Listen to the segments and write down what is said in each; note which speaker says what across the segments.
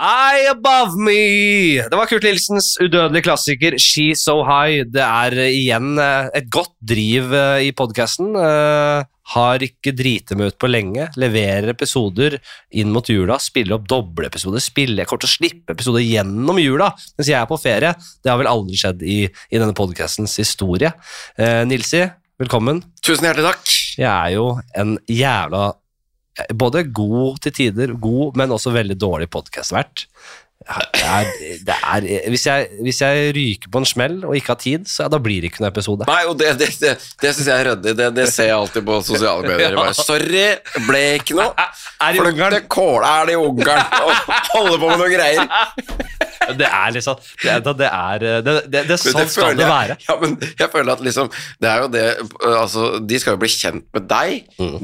Speaker 1: High above me! Det var Kurt Nilsens udødelige klassiker She's So High. Det er eh, igjen eh, et godt driv eh, i podkasten. Har ikke driti meg ut på lenge. Leverer episoder inn mot jula. Spiller opp dobleepisoder. Spiller kort og slippe episoder gjennom jula mens jeg er på ferie. Det har vel aldri skjedd i, i denne podkastens historie. Eh, Nilsi, velkommen.
Speaker 2: Tusen hjertelig takk.
Speaker 1: Jeg er jo en jævla Både god til tider, god, men også veldig dårlig podkastvert. Det er, det er, hvis, jeg, hvis jeg ryker på en smell og ikke har tid, så ja, da blir det ikke noen episode.
Speaker 2: Nei, og det, det, det, det syns jeg er ryddig. Det, det ser jeg alltid på sosiale medier. Bare, Sorry, ble ikke noe.
Speaker 1: Er det,
Speaker 2: Fløkte kåla er det i Ungarn og holder på med noen greier.
Speaker 1: det er liksom Det er, det er, det, det, det,
Speaker 2: Men
Speaker 1: sånn skal
Speaker 2: føler
Speaker 1: det
Speaker 2: jeg,
Speaker 1: være.
Speaker 2: ja, men jeg føler at liksom Det er jo det eh, Altså, de skal jo bli kjent med deg.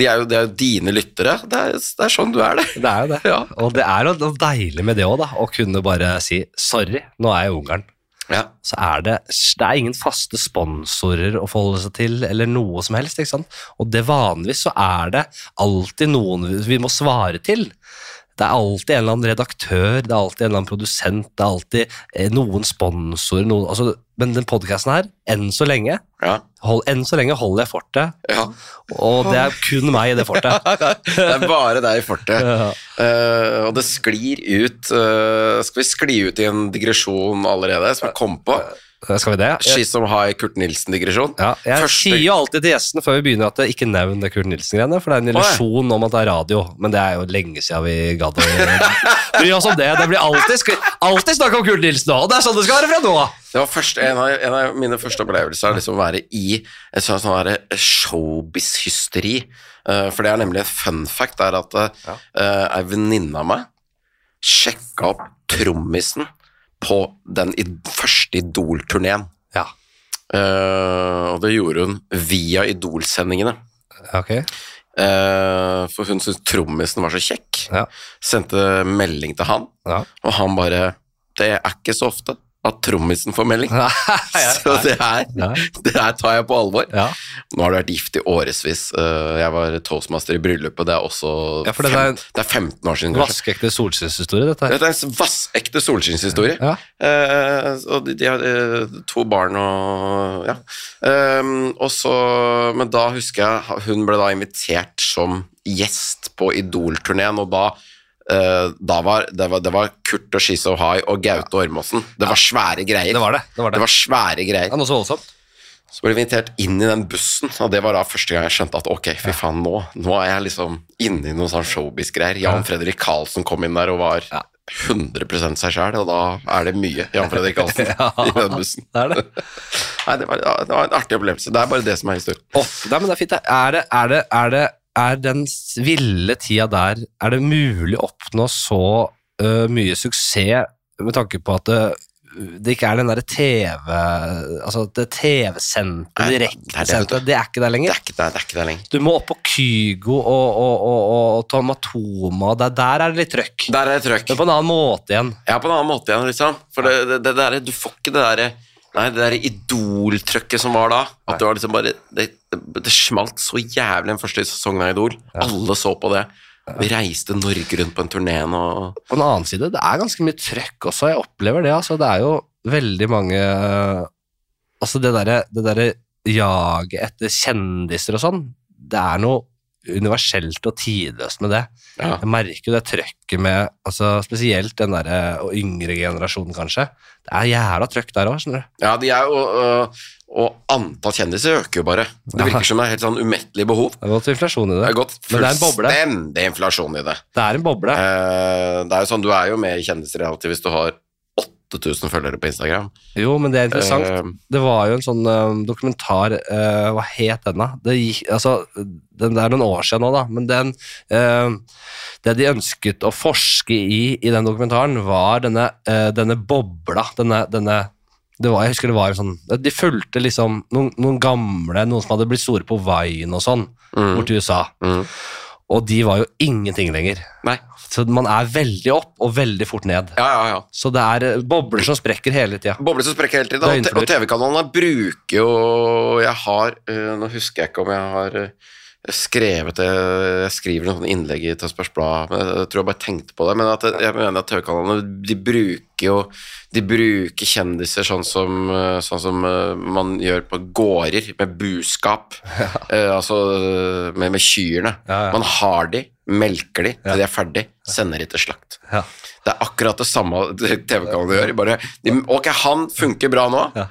Speaker 2: De er jo, det er jo dine lyttere. Det er, det er sånn du er, det.
Speaker 1: Det er jo det.
Speaker 2: Ja.
Speaker 1: Og det er jo noe deilig med det òg, da. Å kunne bare si 'sorry, nå er jeg i Ungarn'.
Speaker 2: Ja.
Speaker 1: så er det, det er ingen faste sponsorer å forholde seg til, eller noe som helst. ikke sant? Og det vanligvis så er det alltid noen vi- vi må svare til. Det er alltid en eller annen redaktør, det er alltid en eller annen produsent, det er alltid eh, noen sponsorer. Noen, altså, men den podkasten her, enn så lenge,
Speaker 2: Ja.
Speaker 1: hold, enn så lenge holder jeg fortet,
Speaker 2: ja.
Speaker 1: og det er kun meg i det fortet.
Speaker 2: Det er bare deg i fortet.
Speaker 1: Ja.
Speaker 2: Eh, og det sklir ut eh, Skal vi skli ut i en digresjon allerede, som jeg kom på?
Speaker 1: Skal vi det? Jeg,
Speaker 2: She's Som High Kurt Nilsen-digresjon.
Speaker 1: ja, jeg
Speaker 2: Første-
Speaker 1: sier jo alltid til gjesten før vi begynner at det ikke nevn det Kurt Nilsen-greiene, for det er en
Speaker 2: Å, ja.
Speaker 1: illusjon om at det er radio, men det er jo lenge siden vi gadd å bry oss om det. Det blir alltid, sk- alltid snakk om Kurt Nilsen nå, og det er sånn det skal være fra nå av.
Speaker 2: Det var først, en, av, en av mine første opplevelser er liksom å være i et sånt sånn derre showbiz-hysteri. Eh, for det er nemlig en fun fact er at uh, ei venninne av meg sjekka opp trommisen på den i, første Idol-turneen.
Speaker 1: Ja,
Speaker 2: Eh, og det gjorde hun via Idol-sendingene.
Speaker 1: ok.
Speaker 2: Eh, for hun syntes trommisen var så kjekk.
Speaker 1: Ja.
Speaker 2: Sendte melding til han,
Speaker 1: Ja.
Speaker 2: og han bare Det er ikke så ofte at trommisen får melding.
Speaker 1: Nei,
Speaker 2: Så det her,
Speaker 1: Nei.
Speaker 2: det her tar jeg på alvor.
Speaker 1: Ja.
Speaker 2: Nå har du vært gift i årevis. Eh, Jeg var toastmaster i bryllupet, det er også
Speaker 1: Ja, for det er-
Speaker 2: fem, det er 15 år siden. kanskje.
Speaker 1: Vaskeekte solskinnshistorie, dette her.
Speaker 2: Dette er en vassekte solskinnshistorie.
Speaker 1: Ja.
Speaker 2: Eh, og de, de har eh, to barn og Ja. Eh, og så, men da husker jeg hun ble da invitert som gjest på Idol-turneen, og da eh, da var, det, var, det var Kurt og She So High og Gaute Ormåsen. Det var svære greier.
Speaker 1: Det var det. Det var
Speaker 2: Det
Speaker 1: det.
Speaker 2: var svære
Speaker 1: Ja,
Speaker 2: greier.
Speaker 1: noe så voldsomt.
Speaker 2: Så ble vi invitert inn i den bussen, og det var da første gang jeg skjønte at ok, fy faen, nå, nå er jeg liksom inne i noen sånn showbiz-greier. Jan Fredrik Karlsen kom inn der og var
Speaker 1: Ja.
Speaker 2: 100 seg sjæl, og da er det mye Jan Fredrik Karlsen i den bussen.
Speaker 1: Det er det.
Speaker 2: Nei, det var, det var en artig opplevelse. Det er bare det som er historien.
Speaker 1: Åh, nei, men det er fint. det. Er det, er det, er det er den s- ville tida der Er det mulig å oppnå så øh, mye suksess med tanke på at det, det ikke er den derre TV Altså det TV-sendte,
Speaker 2: Nei, det er det,
Speaker 1: direktesendte
Speaker 2: vet
Speaker 1: Det er ikke der
Speaker 2: Det
Speaker 1: lenger.
Speaker 2: er ikke det, det, er ikke det lenger.
Speaker 1: Du må opp på Kygo og, og, og, og Tomatoma. Der, der er det litt trøkk.
Speaker 2: Der er det trøkk.
Speaker 1: Men på en annen måte igjen.
Speaker 2: Ja, på en annen måte igjen, liksom. For det, det, det der, du får ikke det derre Nei, det der Idol-trøkket som var da. At det var liksom bare Det, det smalt så jævlig den første sesongen av Idol. Alle så på det. Vi reiste Norge rundt på en turneen og
Speaker 1: På den annen side, det er ganske mye trøkk også. Jeg opplever det. altså. Det er jo veldig mange øh, Altså, det derre det derre jaget etter kjendiser og sånn, det er noe universelt og tidløst med det.
Speaker 2: Ja.
Speaker 1: Jeg merker jo det trøkket med altså Spesielt den derre og yngre generasjonen, kanskje. Det er jævla trøkk der òg, skjønner du.
Speaker 2: Ja, de er jo øh, Og antall kjendiser øker jo bare. Det virker som det er helt sånn umettelig behov.
Speaker 1: Det er gått inflasjon i det.
Speaker 2: Det har gått
Speaker 1: Men det er en boble.
Speaker 2: fullstendig inflasjon i det.
Speaker 1: Det er en boble.
Speaker 2: Eh, det er jo sånn, Du er jo med i kjendisreality hvis du har 8000 følgere på Instagram.
Speaker 1: Jo, men det er interessant.
Speaker 2: Eh,
Speaker 1: Det var jo en sånn øhm, dokumentar øh, Hva het den, da? Det, gikk, altså, den, det er noen år siden nå, da. Men den, øhm, det de ønsket å forske i i den dokumentaren, var denne, øh, denne bobla. Denne, denne det var, jeg husker det var en sånn De fulgte liksom noen, noen gamle, noen som hadde blitt store på Vine og sånn,
Speaker 2: Mm.
Speaker 1: borti USA.
Speaker 2: Mm.
Speaker 1: Og de var jo ingenting lenger.
Speaker 2: Nei.
Speaker 1: Så man er veldig opp og veldig fort ned.
Speaker 2: Ja, ja, ja.
Speaker 1: Så det er øh, bobler som sprekker hele tida.
Speaker 2: Bobler som sprekker hele tiden. Og, te-
Speaker 1: Døgnfluer.
Speaker 2: eh, og TV-kanalene bruker jo Jeg har øh, Nå husker jeg ikke om jeg har øh, skrevet det Jeg skriver noen sånne innlegg i Tønsbergs Blad, men jeg tror jeg bare tenkte på det. Men at jeg mener at TV-kanalene de bruker jo De bruker kjendiser sånn som, eh, sånn som eh, man gjør på gårder, med buskap. Eh, altså eh, med, med kyrne.
Speaker 1: Ja, ja.
Speaker 2: Man har de, melker de
Speaker 1: Ja.
Speaker 2: til de er ferdig, sender de til slakt.
Speaker 1: Ja.
Speaker 2: Det er akkurat det samme TV-kanalene gjør. Bare, de, ok, han funker bra nå.
Speaker 1: Ja.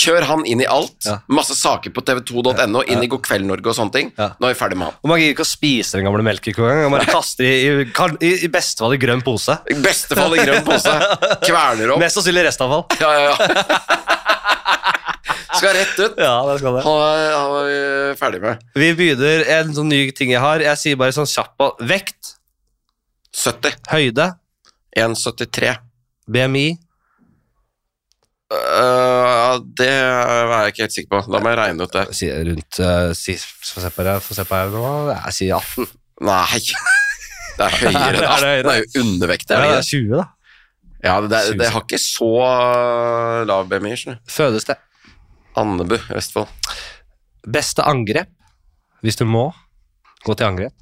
Speaker 2: Kjør han inn i alt.
Speaker 1: Ja.
Speaker 2: Masse saker på tv2.no, inn i God kveld Norge og sånne ting.
Speaker 1: Ja.
Speaker 2: Nå er vi ferdig med han.
Speaker 1: Og man gidder ikke å spise den gamle melkekoa engang. Man bare kaster i, i, kan- i, i beste fall i grønn pose.
Speaker 2: I beste fall i grønn pose. Kverner opp.
Speaker 1: Mest sannsynlig restavfall.
Speaker 2: Ja, ja, ja. Skal rett ut.
Speaker 1: Ja, det skal det.
Speaker 2: Han er, han er vi ferdig med.
Speaker 1: Vi begynner en sånn ny ting jeg har. Jeg sier bare sånn kjapt på vekt,
Speaker 2: 70.
Speaker 1: høyde,
Speaker 2: 1,73.
Speaker 1: BMI.
Speaker 2: Øh, det er jeg ikke helt sikker på. Da må jeg regne ut det.
Speaker 1: Si rundt eh, si, Få se på det, få se på det nå. Jeg sier 18.
Speaker 2: Nei. Det er høyere
Speaker 1: Er
Speaker 2: enn
Speaker 1: det
Speaker 2: 18.
Speaker 1: høyere?
Speaker 2: Det er jo undervekt.
Speaker 1: Ja,
Speaker 2: Er
Speaker 1: det
Speaker 2: det
Speaker 1: er 20, da.
Speaker 2: ikke? Ja, det, er- det har ikke så lav BMI. skjønner du.
Speaker 1: Fødes det.
Speaker 2: Andebu, Vestfold.
Speaker 1: Beste angrep, hvis du må. Gå til angrep.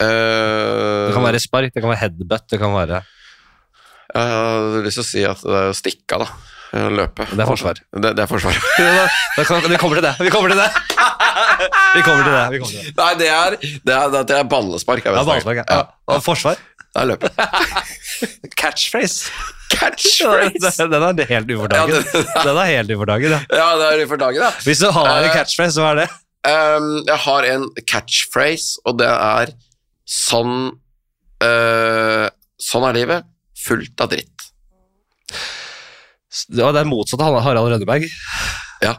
Speaker 2: Eh,
Speaker 1: Det kan være spark, det kan være headbutt, det kan være
Speaker 2: Jeg hadde lyst til å si at det er å stikke av, da. Å Løpe.
Speaker 1: Det er forsvar.
Speaker 2: Det, det er forsvar.
Speaker 1: Da kan, vi kommer til det. Vi kommer til det. Vi kommer til det. Vi kommer til det.
Speaker 2: Nei, det er, det er, det er ballespark. Jeg
Speaker 1: Ja,
Speaker 2: vet
Speaker 1: ballspark, ja.
Speaker 2: ikke.
Speaker 1: Ja. Og forsvar.
Speaker 2: Ja, det er løpe.
Speaker 1: Catchphrase.
Speaker 2: Catchphrase!
Speaker 1: Den er helt
Speaker 2: Ja,
Speaker 1: ufordagen. Den er helt ufordagen, ja.
Speaker 2: Ja, det er det for dagen, da.
Speaker 1: Hvis du har en
Speaker 2: Eh.
Speaker 1: catchphrase, så er det
Speaker 2: Um, jeg har en catchphrase, og det er sånn eh, Sånn er livet. Fullt av dritt.
Speaker 1: Ja, det er motsatt av Harald Rønneberg.
Speaker 2: Ja,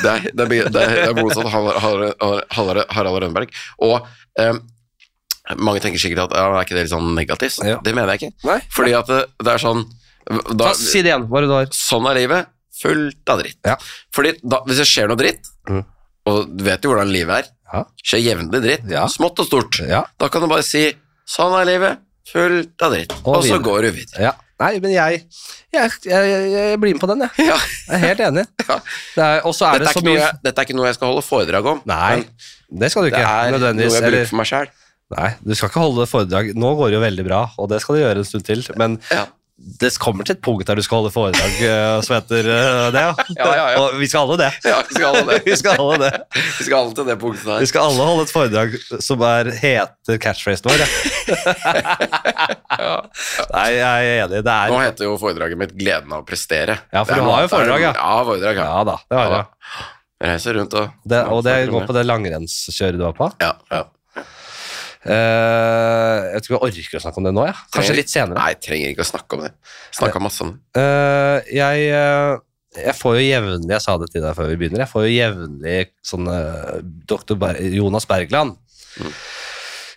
Speaker 2: det er, det er, det er, det er motsatt Harald, Harald, Harald, Harald Rønneberg. Og eh, mange tenker sikkert at ja, er ikke det litt sånn negativt?
Speaker 1: Ja.
Speaker 2: Det mener jeg ikke.
Speaker 1: Nei.
Speaker 2: Fordi at det, det er sånn
Speaker 1: Ta,
Speaker 2: da,
Speaker 1: si det igjen, hva er det du har.
Speaker 2: Sånn er livet. Fullt av dritt.
Speaker 1: Ja.
Speaker 2: Fordi da, hvis det skjer noe dritt,
Speaker 1: Mhm.
Speaker 2: og du vet jo hvordan livet er,
Speaker 1: Ja.
Speaker 2: skjer jevnlig dritt,
Speaker 1: Ja.
Speaker 2: smått og stort,
Speaker 1: Ja.
Speaker 2: da kan du bare si 'sånn er livet', fullt av dritt,
Speaker 1: Og
Speaker 2: og, så
Speaker 1: videre.
Speaker 2: går du videre.
Speaker 1: ja. Nei, men jeg, jeg, jeg, jeg blir med på den, jeg.
Speaker 2: Ja.
Speaker 1: Jeg er helt enig.
Speaker 2: Ja.
Speaker 1: Det er- Og så er det
Speaker 2: Dette, er
Speaker 1: så
Speaker 2: ikke noe
Speaker 1: mye
Speaker 2: jeg, dette er ikke noe jeg skal holde foredrag om.
Speaker 1: Nei,
Speaker 2: men
Speaker 1: det skal du
Speaker 2: det
Speaker 1: ikke.
Speaker 2: er noe
Speaker 1: nødvendigvis.
Speaker 2: jeg bruker
Speaker 1: Eller,
Speaker 2: for meg sjæl.
Speaker 1: nei, du skal ikke holde foredrag. Nå går det jo veldig bra, og det skal du gjøre en stund til. Men
Speaker 2: Ja.
Speaker 1: det kommer til et punkt der du skal holde foredrag eh, som heter eh, det.
Speaker 2: Ja, ja, ja.
Speaker 1: Og vi skal alle det.
Speaker 2: Ja, vi skal alle det.
Speaker 1: Vi skal alle det.
Speaker 2: Vi skal alle til det punktet
Speaker 1: Vi
Speaker 2: der.
Speaker 1: skal alle holde et foredrag som er, heter catchphrasen vår. Ja.
Speaker 2: Ja.
Speaker 1: Nei, jeg er enig. Det
Speaker 2: Nå
Speaker 1: er
Speaker 2: heter jo foredraget mitt 'Gleden av å prestere'.
Speaker 1: Ja, for
Speaker 2: Det er
Speaker 1: du har jo
Speaker 2: noe-
Speaker 1: foredrag, ja.
Speaker 2: Ja, foredrag, ja.
Speaker 1: Ja da, det har jeg.
Speaker 2: Jeg reiser rundt og
Speaker 1: Det, og det går på det langrennskjøret du var på.
Speaker 2: Ja, ja.
Speaker 1: Eh, jeg tror ikke jeg orker å snakke om det nå. Ja. Kanskje litt senere.
Speaker 2: Nei, trenger ikke å snakke om det. Snakka masse om det.
Speaker 1: Eh, jeg, eh, jeg får jo jevnlig Jeg sa det til deg før vi begynner. Jeg får jo jevnlig sånn eh, Dr. Ber Jonas Bergland.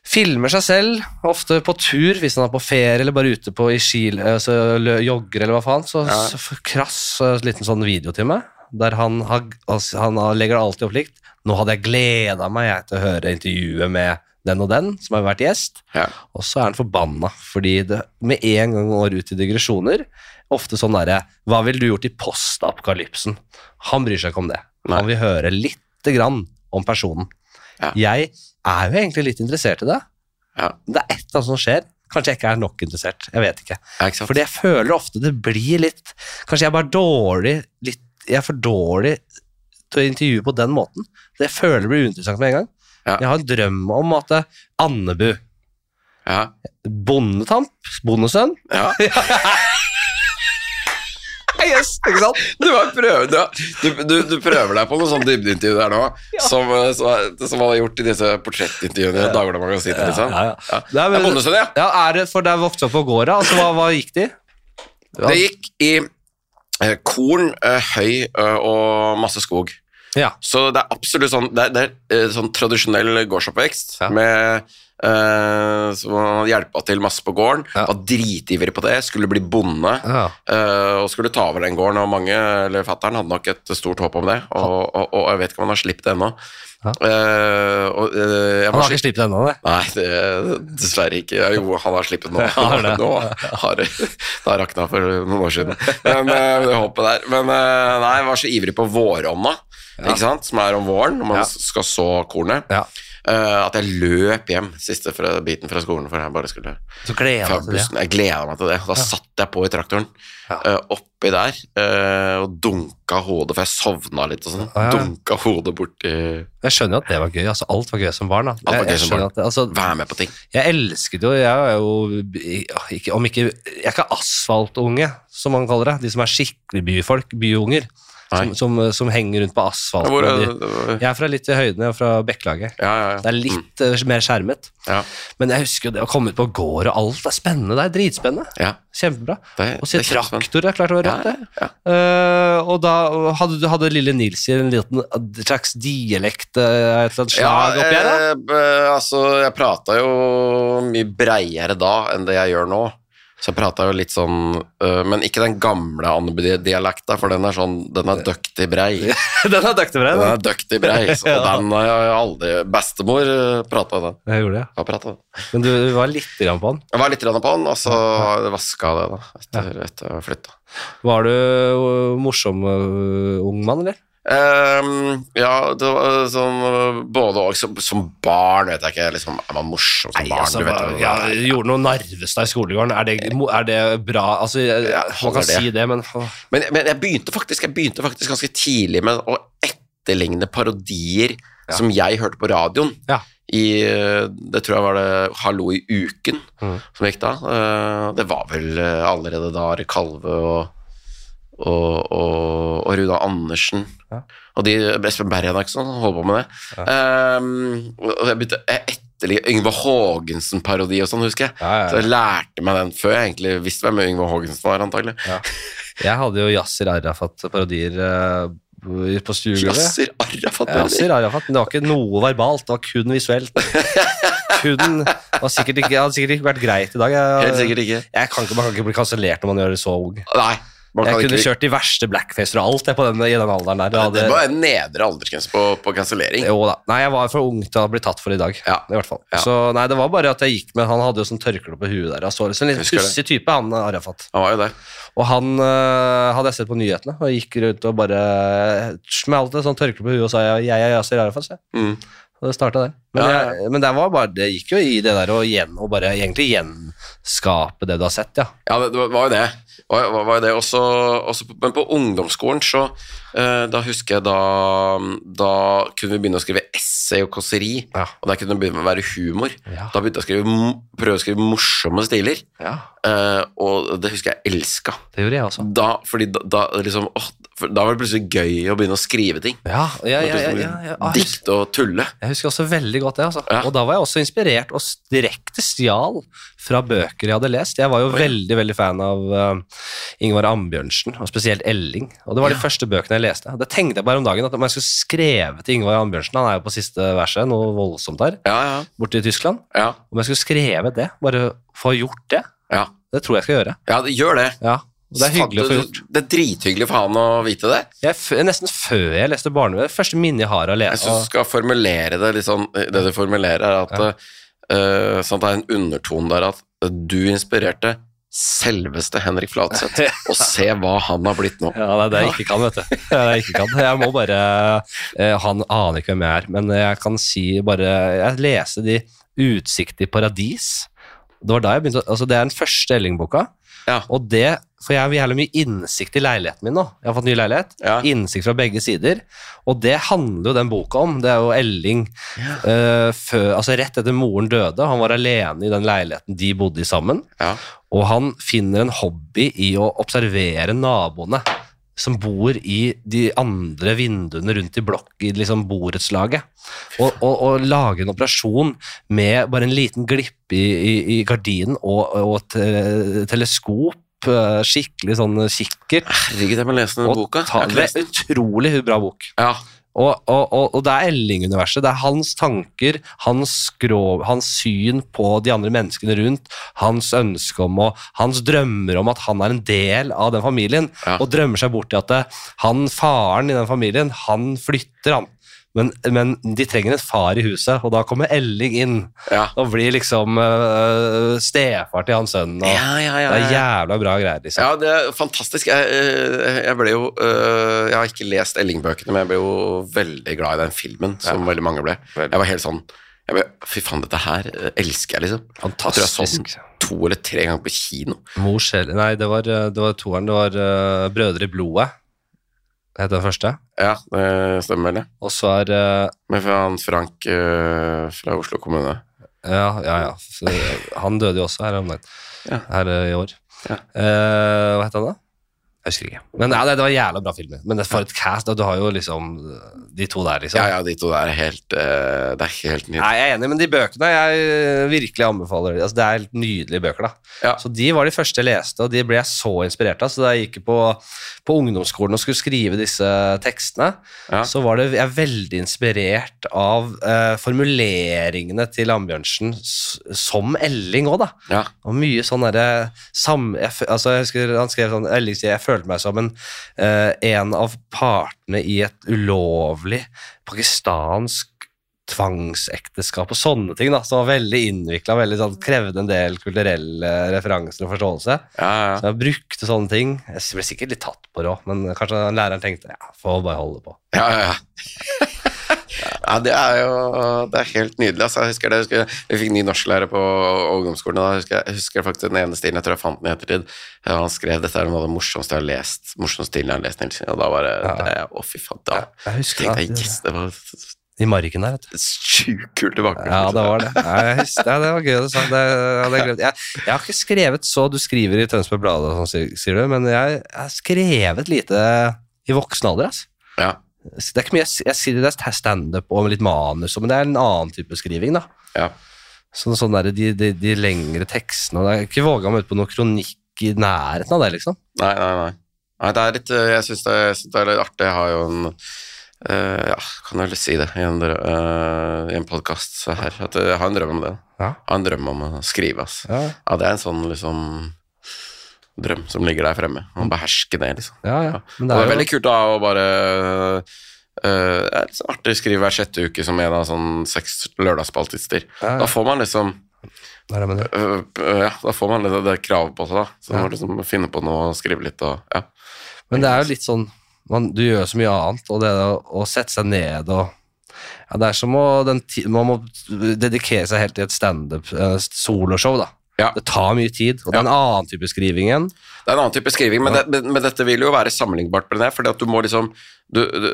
Speaker 1: Filmer seg selv, ofte på tur hvis han er på ferie eller bare ute på i skil, eh, så lø- jogger eller hva faen. Så,
Speaker 2: Ja.
Speaker 1: så f- krass eh, liten sånn videotime der han, har, altså, han har- legger det alltid opp likt. Nå hadde jeg gleda meg jeg, til å høre intervjuet med den og den som har vært gjest.
Speaker 2: Ja.
Speaker 1: Og så er han forbanna, fordi det med en gang går ut i digresjoner. Ofte sånn derre Hva ville du gjort i postapokalypsen? Han bryr seg ikke om det.
Speaker 2: Nei.
Speaker 1: Han vil høre lite grann om personen.
Speaker 2: Ja.
Speaker 1: Jeg er jo egentlig litt interessert i det.
Speaker 2: Ja.
Speaker 1: Men Det er et eller annet som skjer. Kanskje jeg ikke er nok interessert. Jeg vet ikke.
Speaker 2: Ja, ikke sant?
Speaker 1: Fordi jeg føler ofte det blir litt Kanskje jeg er bare dårlig litt, Jeg er for dårlig til å intervjue på den måten. Det jeg føler blir uinteressant med en gang.
Speaker 2: Ja.
Speaker 1: Jeg har en drøm om at eh, Andebu
Speaker 2: Ja.
Speaker 1: Bondetamp, bondesønn.
Speaker 2: ja.
Speaker 1: Yes, ikke sant?
Speaker 2: Du, bare prøver, du, du, du, du prøver deg på noe sånn dybdeintervju der nå, som, eh, som, som han har gjort i disse portrettintervjuene i Dagbladet Magasinet. liksom.
Speaker 1: Ja, ja,
Speaker 2: Ja.
Speaker 1: Nei,
Speaker 2: Det
Speaker 1: men-
Speaker 2: er bondesønn, ja.
Speaker 1: Ja, er det for der vokste opp på gårda? Altså, hva, hva gikk de?
Speaker 2: Det gikk i eh, korn, eh, høy eh, og masse skog.
Speaker 1: Ja.
Speaker 2: Så det er absolutt sånn Det er, det er eh, sånn tradisjonell gårdsoppvekst
Speaker 1: Ja.
Speaker 2: med eh, Som han hjelpa til masse på gården.
Speaker 1: Ja.
Speaker 2: Var dritivrig på det, skulle bli bonde. eh, og skulle ta over den gården, og mange, eller fatteren, hadde nok et stort håp om det. Og, og, og jeg vet ikke om han har slippet det ennå.
Speaker 1: Ja.
Speaker 2: Eh, og, eh, jeg
Speaker 1: Han
Speaker 2: var
Speaker 1: har ikke slippet ennå, det.
Speaker 2: Nei, det, dessverre ikke. Ja, Jo, han har slippet nå.
Speaker 1: Ja, det.
Speaker 2: Nå har det har rakna for noen år siden. Men eh, det håpet der. Men eh, nei, jeg var så ivrig på vårånda. ikke sant? som er om våren, når man
Speaker 1: Ja.
Speaker 2: skal så kornet.
Speaker 1: Ja.
Speaker 2: Eh, at jeg løp hjem siste fra, biten fra skolen, for jeg bare skulle
Speaker 1: Så gleder
Speaker 2: fra
Speaker 1: jeg meg til altså det.
Speaker 2: bussen. Jeg gleda meg til det. Da satt jeg på i traktoren
Speaker 1: Ja.
Speaker 2: eh, oppi der eh, og dunka hodet, for jeg sovna litt og sånn.
Speaker 1: Ja, ja.
Speaker 2: Dunka hodet borti
Speaker 1: Jeg skjønner jo at det var gøy. altså Alt var gøy som barn. da.
Speaker 2: var
Speaker 1: Jeg,
Speaker 2: gøy
Speaker 1: jeg,
Speaker 2: som
Speaker 1: skjønner
Speaker 2: barn.
Speaker 1: at det, altså,
Speaker 2: Vær med på ting.
Speaker 1: jeg elsket jo Jeg er jo ikke, Om ikke Jeg er ikke asfaltunge, som man kaller det. De som er skikkelig byfolk. Byunger. Som,
Speaker 2: Nei.
Speaker 1: som, som henger rundt på asfalten.
Speaker 2: Hvor,
Speaker 1: og
Speaker 2: er
Speaker 1: de-
Speaker 2: det?
Speaker 1: Jeg er fra litt i høyden, jeg er fra Bekkelaget.
Speaker 2: ja, ja, Mm,
Speaker 1: Det
Speaker 2: ja.
Speaker 1: er litt eh, mer skjermet.
Speaker 2: ja,
Speaker 1: Men jeg husker jo det å komme ut på gård og alt er spennende. Det er dritspennende.
Speaker 2: ja.
Speaker 1: Kjempebra.
Speaker 2: Det,
Speaker 1: Og se
Speaker 2: det er kjempespennende.
Speaker 1: traktor, det er klart det var
Speaker 2: Ja,
Speaker 1: rått,
Speaker 2: ja,
Speaker 1: det.
Speaker 2: ja.
Speaker 1: Eh, og da hadde, hadde lille Nils i en liten eh, slags dialekt eh, et eller annet slag oppi her, da?
Speaker 2: eh, b- altså, jeg prata jo mye breiere da enn det jeg gjør nå. Så jeg prata jo litt sånn eh, Men ikke den gamle Andeby-dialekta, for den er sånn Den er døktig brei.
Speaker 1: Den er døktig for
Speaker 2: Den
Speaker 1: deg,
Speaker 2: er døktig brei, så
Speaker 1: Ja.
Speaker 2: den har jeg aldri Bestemor prata den.
Speaker 1: da. Jeg gjorde det.
Speaker 2: Har pratet den.
Speaker 1: Men du var litt grann på han.
Speaker 2: Jeg var litt grann på den, og så vaska det, da, etter, etter å ha flytta.
Speaker 1: Var du øh, morsom øh, ung mann, eller?
Speaker 2: Ehm, ja, det var øh, sånn øh, både og. Som, som barn, vet jeg ikke. Liksom, er man morsom som barn? du vet, jo.
Speaker 1: altså, ja, gjorde noe Narvestad i skolegården. Er det, mo- er det bra? Altså, jeg,
Speaker 2: Ja,
Speaker 1: man
Speaker 2: holder
Speaker 1: kan
Speaker 2: det.
Speaker 1: si det, men åh.
Speaker 2: Men, men jeg, begynte faktisk, jeg begynte faktisk ganske tidlig med å etterligne parodier
Speaker 1: Ja.
Speaker 2: som jeg hørte på radioen.
Speaker 1: Ja.
Speaker 2: I, eh, det tror jeg var det Hallo i uken
Speaker 1: Mhm.
Speaker 2: som gikk da. Eh, Det var vel eh, allerede da Are Kalve og, og, og, og Runa Andersen.
Speaker 1: Ja.
Speaker 2: Og de, Espen Bergen-Akson holdt på med det. Eh, og og jeg begynte jeg etterligne Yngve Haagensen-parodi og sånn, husker jeg.
Speaker 1: ja, ja, ja.
Speaker 2: Så jeg lærte meg den før jeg egentlig visste hvem Yngve Haagensen var, antagelig.
Speaker 1: Jeg hadde jo Yasir Arafat-parodier øh, på stuegulvet.
Speaker 2: Yasser Arafat.
Speaker 1: Ja, Yasir Arafat, men det var ikke noe verbalt, det var kun visuelt. Kun, det var sikkert ikke, hadde sikkert ikke vært greit i dag. Jeg,
Speaker 2: Helt sikkert ikke.
Speaker 1: Jeg kan ikke, man kan ikke bli kansellert når man gjør det så ung.
Speaker 2: Nei. Man
Speaker 1: Jeg
Speaker 2: kan
Speaker 1: kunne
Speaker 2: ikke,
Speaker 1: kjørt de verste blackfacer og alt jeg, på den, i den alderen der. Det
Speaker 2: det
Speaker 1: hadde-
Speaker 2: var en nedre aldersgrense på, på kansellering.
Speaker 1: Jo da. Nei, jeg var for ung til å bli tatt for i dag.
Speaker 2: Ja.
Speaker 1: I hvert fall.
Speaker 2: Ja.
Speaker 1: Så nei, det var bare at jeg gikk med Han hadde jo sånn tørkle på huet der. Jeg så liksom en litt
Speaker 2: Husker det.
Speaker 1: pussig type, han Arafat.
Speaker 2: Han var jo det.
Speaker 1: Og han øh, hadde jeg sett på nyhetene, og gikk rundt og bare smalt et sånt tørkle på huet og sa jeg, jeg er Yasir Arafat, sa jeg.
Speaker 2: Mm.
Speaker 1: Og det starta der. Men,
Speaker 2: Ja, ja,
Speaker 1: Jeg, men det var bare Det gikk jo i det der å gjen, og bare egentlig gjenskape det du har sett, ja.
Speaker 2: Ja, det, det var jo det. Var, var, var jo det. Også, også på, men på ungdomsskolen, så eh, Da husker jeg da Da kunne vi begynne å skrive essay og kåseri.
Speaker 1: Ja.
Speaker 2: Og der kunne det begynne å være humor.
Speaker 1: Ja.
Speaker 2: Da begynte jeg å skrive, mo- prøve å skrive morsomme stiler, eh, og det husker jeg elska.
Speaker 1: Det gjorde jeg også.
Speaker 2: Da, fordi da, da, liksom, åh, for da var det plutselig gøy å begynne å skrive ting.
Speaker 1: Ja, ja, ja, ja,
Speaker 2: Plutselig
Speaker 1: ja, ja. Ah,
Speaker 2: Dikt og tulle.
Speaker 1: Jeg husker også veldig godt det. Altså.
Speaker 2: Ja.
Speaker 1: Og da var jeg også inspirert og s- direkte stjal fra bøker jeg hadde lest. Jeg var jo veldig veldig fan av eh, Ingvar Ambjørnsen, og spesielt Elling. Og Det var de første bøkene jeg leste. Og Det tenkte jeg bare om dagen at om jeg skulle skrevet til Ingvar Ambjørnsen Han er jo på siste verset, noe voldsomt der,
Speaker 2: Ja, ja,
Speaker 1: borte i Tyskland.
Speaker 2: ja.
Speaker 1: Om jeg skulle skrevet det, bare få gjort det.
Speaker 2: Ja,
Speaker 1: Det tror jeg skal gjøre.
Speaker 2: ja det- gjør det.
Speaker 1: Ja, og Det er hyggelig å få gjort.
Speaker 2: Det er drithyggelig for han å vite det.
Speaker 1: Jeg, f nesten før jeg leste barnebøker, det første minnet jeg har av å
Speaker 2: Jeg
Speaker 1: lese
Speaker 2: syns du skal formulere det litt sånn Det du formulerer, er at eh, sånn at det er en undertone der at eh, du inspirerte selveste Henrik Flatseth, og se hva han har blitt nå.
Speaker 1: Ja, det er det jeg ikke kan, vet du. Det er det jeg ikke kan. Jeg må bare eh, Han aner ikke hvem jeg er, men jeg kan si bare Jeg leste de Utsikt i paradis. Det var da jeg begynte å- Altså, det er den første Elling-boka,
Speaker 2: Ja.
Speaker 1: og det For jeg har jævlig mye innsikt i leiligheten min nå. Jeg har fått ny leilighet.
Speaker 2: Ja.
Speaker 1: Innsikt fra begge sider. Og det handler jo den boka om. Det er jo Elling eh, før, altså rett etter moren døde. Han var alene i den leiligheten de bodde i sammen.
Speaker 2: Ja.
Speaker 1: Og han finner en hobby i å observere naboene som bor i de andre vinduene rundt i blokk, i liksom borettslaget. Og, og, og lage en operasjon med bare en liten glipp i, i, i gardinen og, og et eh, teleskop, eh, skikkelig sånn kikkert.
Speaker 2: Herregud, jeg må lese den
Speaker 1: Og
Speaker 2: boka.
Speaker 1: ta,
Speaker 2: Jeg har ikke
Speaker 1: det
Speaker 2: lest
Speaker 1: er
Speaker 2: den.
Speaker 1: utrolig bra bok.
Speaker 2: Ja.
Speaker 1: Og, og, og, og det er Elling-universet. Det er hans tanker, hans skrå, hans syn på de andre menneskene rundt, hans ønske om og hans drømmer om at han er en del av den familien,
Speaker 2: Ja.
Speaker 1: eh, og drømmer seg bort til at det, han faren i den familien, han flytter, han. Men, men de trenger en far i huset, og da kommer Elling inn.
Speaker 2: Ja.
Speaker 1: Og blir liksom øh, stefar til han sønnen. Og
Speaker 2: Ja, ja, ja,
Speaker 1: Det er
Speaker 2: ja.
Speaker 1: jævla bra greier, liksom.
Speaker 2: Ja, det er fantastisk. Jeg, eh, jeg ble jo eh, Jeg har ikke lest Elling-bøkene, men jeg ble jo veldig glad i den filmen, som veldig mange ble.
Speaker 1: Veldig.
Speaker 2: Jeg var helt sånn jeg ble, Fy faen, dette her eh, elsker jeg, liksom. Jeg tror jeg så den
Speaker 1: Fantastisk.
Speaker 2: to eller tre ganger på kino.
Speaker 1: Mors sjel Nei, det var, øh, det var toeren. Det var øh, Brødre i blodet. Det heter den første.
Speaker 2: Ja, det stemmer vel, det.
Speaker 1: Og så er øh,
Speaker 2: Med han Frank eh, fra Oslo kommune.
Speaker 1: Ja, ja, ja. Så, eh, Han døde jo også her om dagen.
Speaker 2: Ja.
Speaker 1: Her øh, i år.
Speaker 2: Ja.
Speaker 1: Eh, hva het han da? Jeg husker ikke. Men nei, nei, Det var jævla bra filmer. Men det for et cast. da, Du har jo liksom de to der, liksom.
Speaker 2: Ja, ja, de to der er helt eh, Det er helt nydelig.
Speaker 1: Nei, jeg er enig, men de bøkene jeg øh, virkelig anbefaler altså, Det er helt nydelige bøker, da.
Speaker 2: Ja.
Speaker 1: Så de var de første jeg leste, og de ble jeg så inspirert av. Så da jeg gikk på, på ungdomsskolen og skulle skrive disse tekstene,
Speaker 2: Ja.
Speaker 1: så var det, jeg er veldig inspirert av eh, formuleringene til Ambjørnsen s- som Elling òg, da.
Speaker 2: Ja.
Speaker 1: Og mye sånn derre sam... Jeg, f- altså, jeg husker han skrev sånn Elling sier jeg følte meg som en, eh, en av partene i et ulovlig pakistansk tvangsekteskap og sånne ting, da, som var veldig innvikla, veldig sånn, krevde en del kulturelle referanser og forståelse.
Speaker 2: Ja, ja.
Speaker 1: Så jeg brukte sånne ting. Jeg ble sikkert litt tatt på det òg, men kanskje læreren tenkte ja, får bare holde på.
Speaker 2: Ja, ja, ja. ja, det er jo det er helt nydelig. Altså, jeg husker det, jeg husker, Vi fikk ny norsklærer på ungdomsskolen. og Da husker jeg, jeg husker faktisk den ene stilen jeg tror jeg fant den i ettertid. Ja, Han skrev dette er noe av det morsomste jeg har lest. morsomste stilen jeg har lest Nilsen. Og da var det, det Å, fy faen. Da
Speaker 1: Jeg husker
Speaker 2: tenkte jeg
Speaker 1: det.
Speaker 2: yes, det var
Speaker 1: I margen der, vet du.
Speaker 2: sjukt kult i bakgrunnen.
Speaker 1: Ja, det var det. Ja, jeg husker, ja, det var gøy du sa. Det, hadde jeg, glemt. jeg, jeg har ikke skrevet så Du skriver i Tønsberg Blad, og sånn, sier- sier du, men jeg jeg har skrevet lite i voksen alder. ass.
Speaker 2: Ja,
Speaker 1: Så Det er ikke mye, jeg, s- jeg sier det er standup og med litt manus, men det er en annen type skriving. da.
Speaker 2: ja.
Speaker 1: Sånn, sånn der, de, de, de lengre tekstene. og Jeg har ikke våga meg ut på noen kronikk i nærheten av det, liksom.
Speaker 2: Nei, nei, nei. nei det er litt, eh, jeg syns det, jeg synes det er litt artig. Jeg har jo en eh, Ja, kan jeg vel si det i en, drø- eh, i en podkast her. At jeg har en drøm om det.
Speaker 1: Ja.
Speaker 2: Jeg har en drøm om å skrive. ass.
Speaker 1: Ja,
Speaker 2: Ja, det er en sånn liksom drøm som ligger der fremme. Å beherske det, liksom.
Speaker 1: ja. ja. Men
Speaker 2: Det
Speaker 1: det
Speaker 2: er
Speaker 1: er jo
Speaker 2: veldig kult da å bare eh, Det er litt sånn artig å skrive hver sjette uke som en av sånn seks lørdagsspaltister.
Speaker 1: Ja, ja.
Speaker 2: Da får man liksom
Speaker 1: Det er det jeg mener.
Speaker 2: øh, ja, da får man litt av det kravet på seg, da. Så man
Speaker 1: Ja.
Speaker 2: må liksom finne på noe og skrive litt og ja.
Speaker 1: Men det er jo litt sånn man, Du gjør så mye annet, og det å, å sette seg ned og ja, Det er som å den, ti- Man må dedikere seg helt til et standup eh, soloshow, da.
Speaker 2: Ja.
Speaker 1: Det tar mye tid, og det er en annen type skriving igjen.
Speaker 2: Det er en annen type skriving, men, det, men, men dette vil jo være sammenlignbart med det, fordi at du må liksom du, du,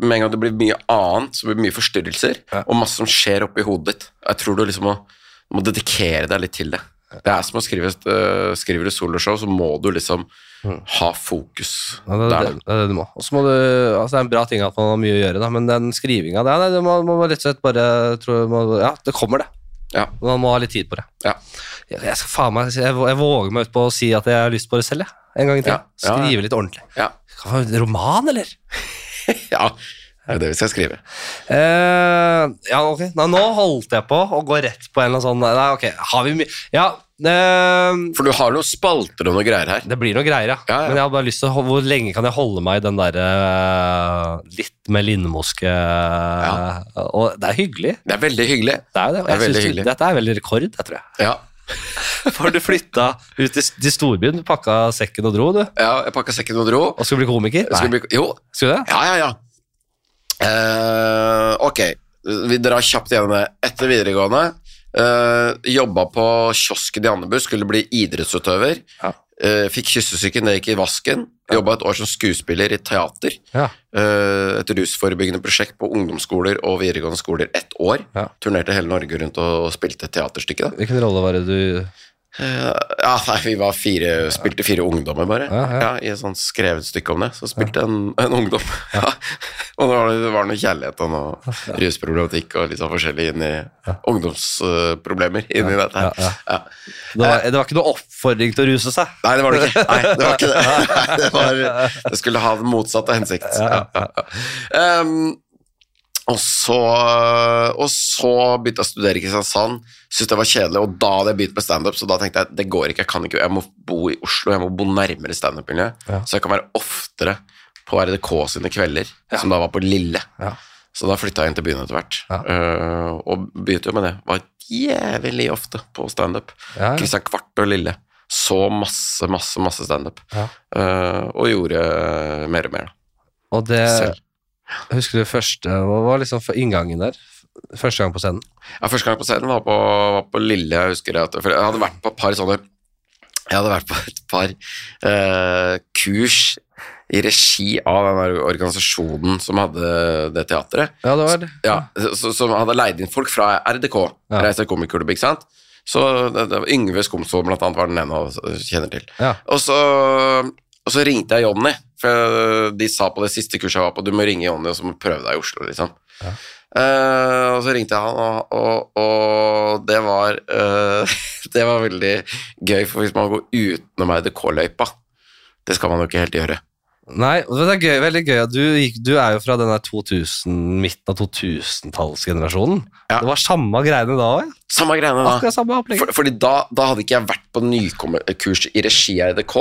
Speaker 2: Med en gang det blir mye annet, så blir det mye forstyrrelser,
Speaker 1: Ja.
Speaker 2: og masse som skjer oppi hodet ditt. Jeg tror du liksom må, du må dedikere deg litt til det. Det er som å skrive et, øh, skriver du soloshow, så må du liksom ha fokus
Speaker 1: Mm. Ja, det,
Speaker 2: der.
Speaker 1: det, det er det du må. Og så må du altså Det er en bra ting at man har mye å gjøre, da, men den skrivinga det, er- nei, det må, må rett og slett bare tror jeg, må, Ja, det kommer, det.
Speaker 2: Ja.
Speaker 1: Man må ha litt tid på det.
Speaker 2: Ja.
Speaker 1: Jeg, jeg skal faen meg jeg, jeg våger meg ut på å si at jeg har lyst på det selv, jeg. En gang i tida.
Speaker 2: Ja. Ja, ja.
Speaker 1: Skrive litt ordentlig.
Speaker 2: Ja.
Speaker 1: Roman, eller?
Speaker 2: ja. Det er det vi skal skrive.
Speaker 1: Eh, ja, ok. Nei, nå holdt jeg på å gå rett på en eller annen sånn Nei, ok. Har vi mye Ja. eh,
Speaker 2: For du har noen spalter og noe greier her.
Speaker 1: det blir noe greier, ja.
Speaker 2: Ja, ja.
Speaker 1: Men jeg har bare lyst til å, hvor lenge kan jeg holde meg i den derre litt med lindmoske eh, Og det er hyggelig.
Speaker 2: Det er veldig hyggelig.
Speaker 1: Det er jo det. Og
Speaker 2: Det er
Speaker 1: jeg
Speaker 2: veldig
Speaker 1: synes
Speaker 2: hyggelig.
Speaker 1: dette er veldig rekord, jeg tror jeg.
Speaker 2: Ja.
Speaker 1: For du flytta ut til, til storbyen, du pakka sekken og dro, du.
Speaker 2: ja jeg pakka sekken og dro.
Speaker 1: Og skulle bli komiker?
Speaker 2: Skal vi bli, jo,
Speaker 1: Skulle du det?
Speaker 2: Ja, ja, ja. Eh, ok, vi drar kjapt gjennom det. Etter videregående eh, jobba på kiosken i Andebu, skulle bli idrettsutøver.
Speaker 1: Ja.
Speaker 2: Eh, fikk kyssesyken, det gikk i vasken. Jobba et år som skuespiller i teater.
Speaker 1: Ja.
Speaker 2: Eh, et rusforebyggende prosjekt på ungdomsskoler og videregående skoler ett år.
Speaker 1: Ja.
Speaker 2: Turnerte hele Norge rundt og spilte et teaterstykke. Da.
Speaker 1: Hvilken rolle var det du
Speaker 2: Eh, ja, nei, vi var fire, spilte fire ungdommer bare.
Speaker 1: Ja,
Speaker 2: Ja,
Speaker 1: ja.
Speaker 2: I et sånt skrevet stykke om det. Så spilte en, en ungdom. Ja. og det var, det var noe kjærlighet og noe rusproblematikk og litt sånn forskjellig inni ungdomsproblemer inni dette her.
Speaker 1: ja,
Speaker 2: Ja.
Speaker 1: det var, det var ikke noe oppfordring til å ruse seg?
Speaker 2: Nei, det var det ikke. Nei, det var ikke det. Nei, det, var, det skulle ha den motsatte hensikt. Ja, ja, ja. Um, og, så, og så begynte jeg å studere i Kristiansand. Syntes det var kjedelig, og da hadde jeg begynt med standup. Så da tenkte jeg det går ikke, jeg kan ikke, jeg må bo i Oslo, jeg må bo nærmere standup-miljøet.
Speaker 1: Ja.
Speaker 2: Så jeg kan være oftere på RDK sine kvelder, som da var på Lille.
Speaker 1: Ja.
Speaker 2: Så da flytta jeg inn til byen etter hvert.
Speaker 1: Ja.
Speaker 2: Eh, og begynte jo med det. Var jævlig ofte på standup.
Speaker 1: Ja, ja.
Speaker 2: Kristian Kvart og Lille. Så masse, masse, masse standup.
Speaker 1: Ja.
Speaker 2: Eh, og gjorde eh, mer og mer, da.
Speaker 1: Og det
Speaker 2: Selv.
Speaker 1: Husker du første Hva var liksom f- inngangen der? F- Første gang på scenen?
Speaker 2: Ja, første gang på scenen var på, var på Lille, jeg husker at, for jeg hadde vært på et par sånne Jeg hadde vært på et par eh, kurs i regi av den der organisasjonen som hadde det teatret.
Speaker 1: Ja, det var det.
Speaker 2: Ja, så, som hadde leid inn folk fra RDK,
Speaker 1: Ja.
Speaker 2: Reise Komikerklubb, ikke sant? Så det, det var Yngve Skomsvold blant annet var den ene jeg kjenner til.
Speaker 1: Ja.
Speaker 2: Og så, og så ringte jeg Jonny, for de sa på det siste kurset jeg var på, du må ringe Jonny og så må du prøve deg i Oslo, liksom.
Speaker 1: Ja.
Speaker 2: Eh, og så ringte jeg han, og, og, og det var eh, Det var veldig gøy, for hvis man går utenom RDK-løypa Det skal man jo ikke helt gjøre.
Speaker 1: Nei, og det er gøy, veldig gøy. at Du, gikk, du er jo fra den der 2000, midten av 2000-tallsgenerasjonen.
Speaker 2: Ja.
Speaker 1: Det var samme greiene da òg.
Speaker 2: Samme greiene da.
Speaker 1: Akkurat samme opplegg.
Speaker 2: For, fordi da, da hadde ikke jeg vært på nykommerkurs i regi av RDK.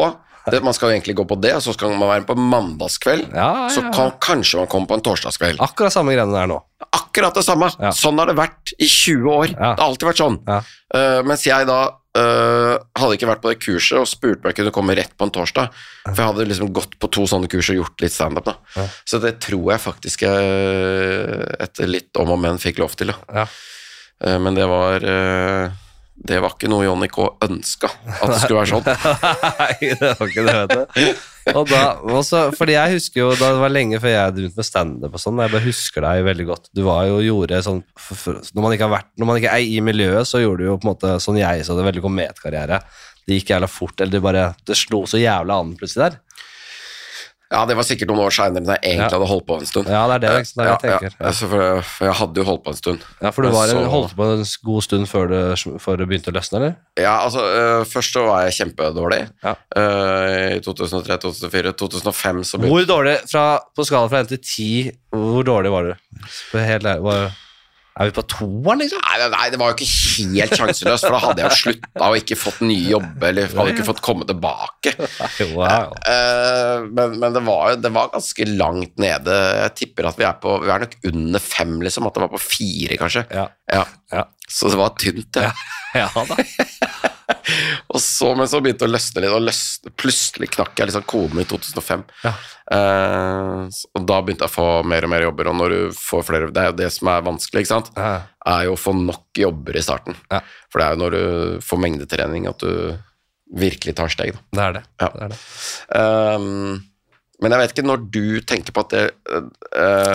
Speaker 2: Det, man skal jo egentlig gå på det, og så skal man være på mandagskveld.
Speaker 1: Ja,
Speaker 2: Så
Speaker 1: ja, ja.
Speaker 2: kan, kanskje man kommer på en torsdagskveld.
Speaker 1: Akkurat samme greiene der nå.
Speaker 2: Akkurat det samme.
Speaker 1: Ja.
Speaker 2: Sånn har det vært i 20 år.
Speaker 1: Ja.
Speaker 2: Det har alltid vært sånn.
Speaker 1: Ja.
Speaker 2: Eh, mens jeg da eh, hadde ikke vært på det kurset og spurte om jeg kunne komme rett på en torsdag. For jeg hadde liksom gått på to sånne kurs og gjort litt standup. da.
Speaker 1: Ja.
Speaker 2: Så det tror jeg faktisk jeg etter litt om og men fikk lov til. da.
Speaker 1: Ja.
Speaker 2: Eh, men det var eh, det var ikke noe Johnny K ønska at det skulle være sånn.
Speaker 1: Nei, det var ikke det, vet du. Og da, også, fordi jeg husker jo, da det var lenge før jeg begynte med standup og sånn, jeg bare husker deg veldig godt. Du var jo gjorde sånn f- f- Når man ikke har vært Når man ikke er i miljøet, så gjorde du jo på en måte sånn jeg så det, veldig kometkarriere. Det gikk jævla fort, eller det bare Det slo så jævla an plutselig der.
Speaker 2: Ja, det var sikkert noen år seinere enn jeg egentlig
Speaker 1: Ja.
Speaker 2: hadde holdt på en stund.
Speaker 1: Ja, det er det ikke sant, det er det jeg
Speaker 2: Ja, ja.
Speaker 1: tenker.
Speaker 2: Altså, for, jeg, for jeg hadde jo holdt på en stund.
Speaker 1: Ja, for du
Speaker 2: Men
Speaker 1: var en,
Speaker 2: så-
Speaker 1: holdt på en god stund før det, før det begynte å løsne, eller?
Speaker 2: Ja, altså øh, Først så var jeg kjempedårlig.
Speaker 1: Ja.
Speaker 2: Øh, I 2003, 2004, 2005 så begynte
Speaker 1: Hvor dårlig, fra, på skala fra 1 til 10, hvor dårlig var du? På Helt, ærlig, var, er vi på toeren, liksom?
Speaker 2: Nei, nei, nei, det var jo ikke helt sjanseløst, for da hadde jeg jo slutta og ikke fått ny jobb, eller hadde ikke fått komme tilbake.
Speaker 1: Wow.
Speaker 2: Eh, men men det, var, jo- det var ganske langt nede. Jeg tipper at vi er på Vi er nok under fem, liksom. At det var på fire, kanskje.
Speaker 1: Ja.
Speaker 2: Ja.
Speaker 1: Ja.
Speaker 2: Så det var tynt, det.
Speaker 1: ja da.
Speaker 2: Og så, men så begynte det å løsne litt, og løsne, plutselig knakk jeg liksom koden i 2005.
Speaker 1: Ja.
Speaker 2: Eh, s- og da begynte jeg å få mer og mer jobber, og når du får flere Det er jo det som er vanskelig, ikke sant?
Speaker 1: Ja.
Speaker 2: Er jo å få nok jobber i starten.
Speaker 1: Ja.
Speaker 2: For det er jo når du får mengdetrening at du virkelig tar steg, da.
Speaker 1: Det er det.
Speaker 2: Ja.
Speaker 1: det, er det.
Speaker 2: Ehm, men jeg vet ikke når du tenker på at det eh,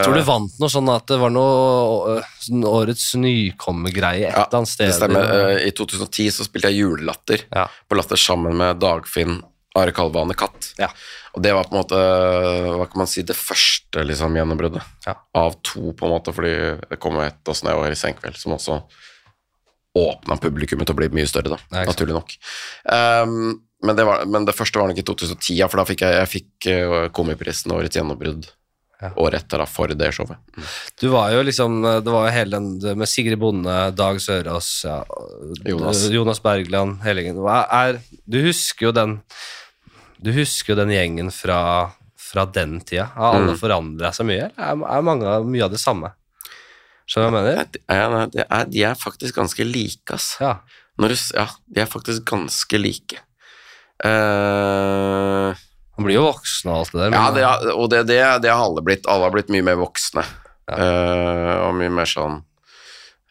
Speaker 1: Tror du vant noe sånn at det var noe øh, sånn årets nykommergreie et
Speaker 2: Ja,
Speaker 1: eller annet sted?
Speaker 2: Det stemmer. Eh, I 2010 så spilte jeg julelatter
Speaker 1: Ja.
Speaker 2: på Latter sammen med Dagfinn, Are Kalve og Anne Katt.
Speaker 1: Ja.
Speaker 2: Og det var på en måte hva kan man si, det første liksom, gjennombruddet
Speaker 1: Ja.
Speaker 2: av to, på en måte, fordi det kom jo et av Snø og i Senkveld, som også åpna publikummet til å bli mye større, da,
Speaker 1: Ja, ikke sant.
Speaker 2: naturlig nok. Ehm, men, det var, men det første var nok i 2010, ja, for da fikk jeg, jeg fikk eh, Komiprisen årets gjennombrudd
Speaker 1: Ja.
Speaker 2: året etter da, for det showet.
Speaker 1: Du var jo liksom øh, Det var jo hele den det med Sigrid Bonde, Dag Sørås, ja, øh,
Speaker 2: Jonas.
Speaker 1: Jonas Bergland, hele gjengen. Hva er Du husker jo den Du husker jo den gjengen fra fra den tida. Har alle
Speaker 2: Mm.
Speaker 1: forandra seg mye, eller er, er mange, av- mye av det samme? Skjønner du hva jeg mener?
Speaker 2: Nei, det er, nei, det er, de er faktisk ganske like, ass.
Speaker 1: Ja.
Speaker 2: Når du, s- ja, de er faktisk ganske like. Eh,
Speaker 1: Man blir jo voksen og alt det der.
Speaker 2: ja,
Speaker 1: men-
Speaker 2: det er, og det, det, det har alle blitt. Alle har blitt mye mer voksne.
Speaker 1: Ja.
Speaker 2: Eh, og mye mer sånn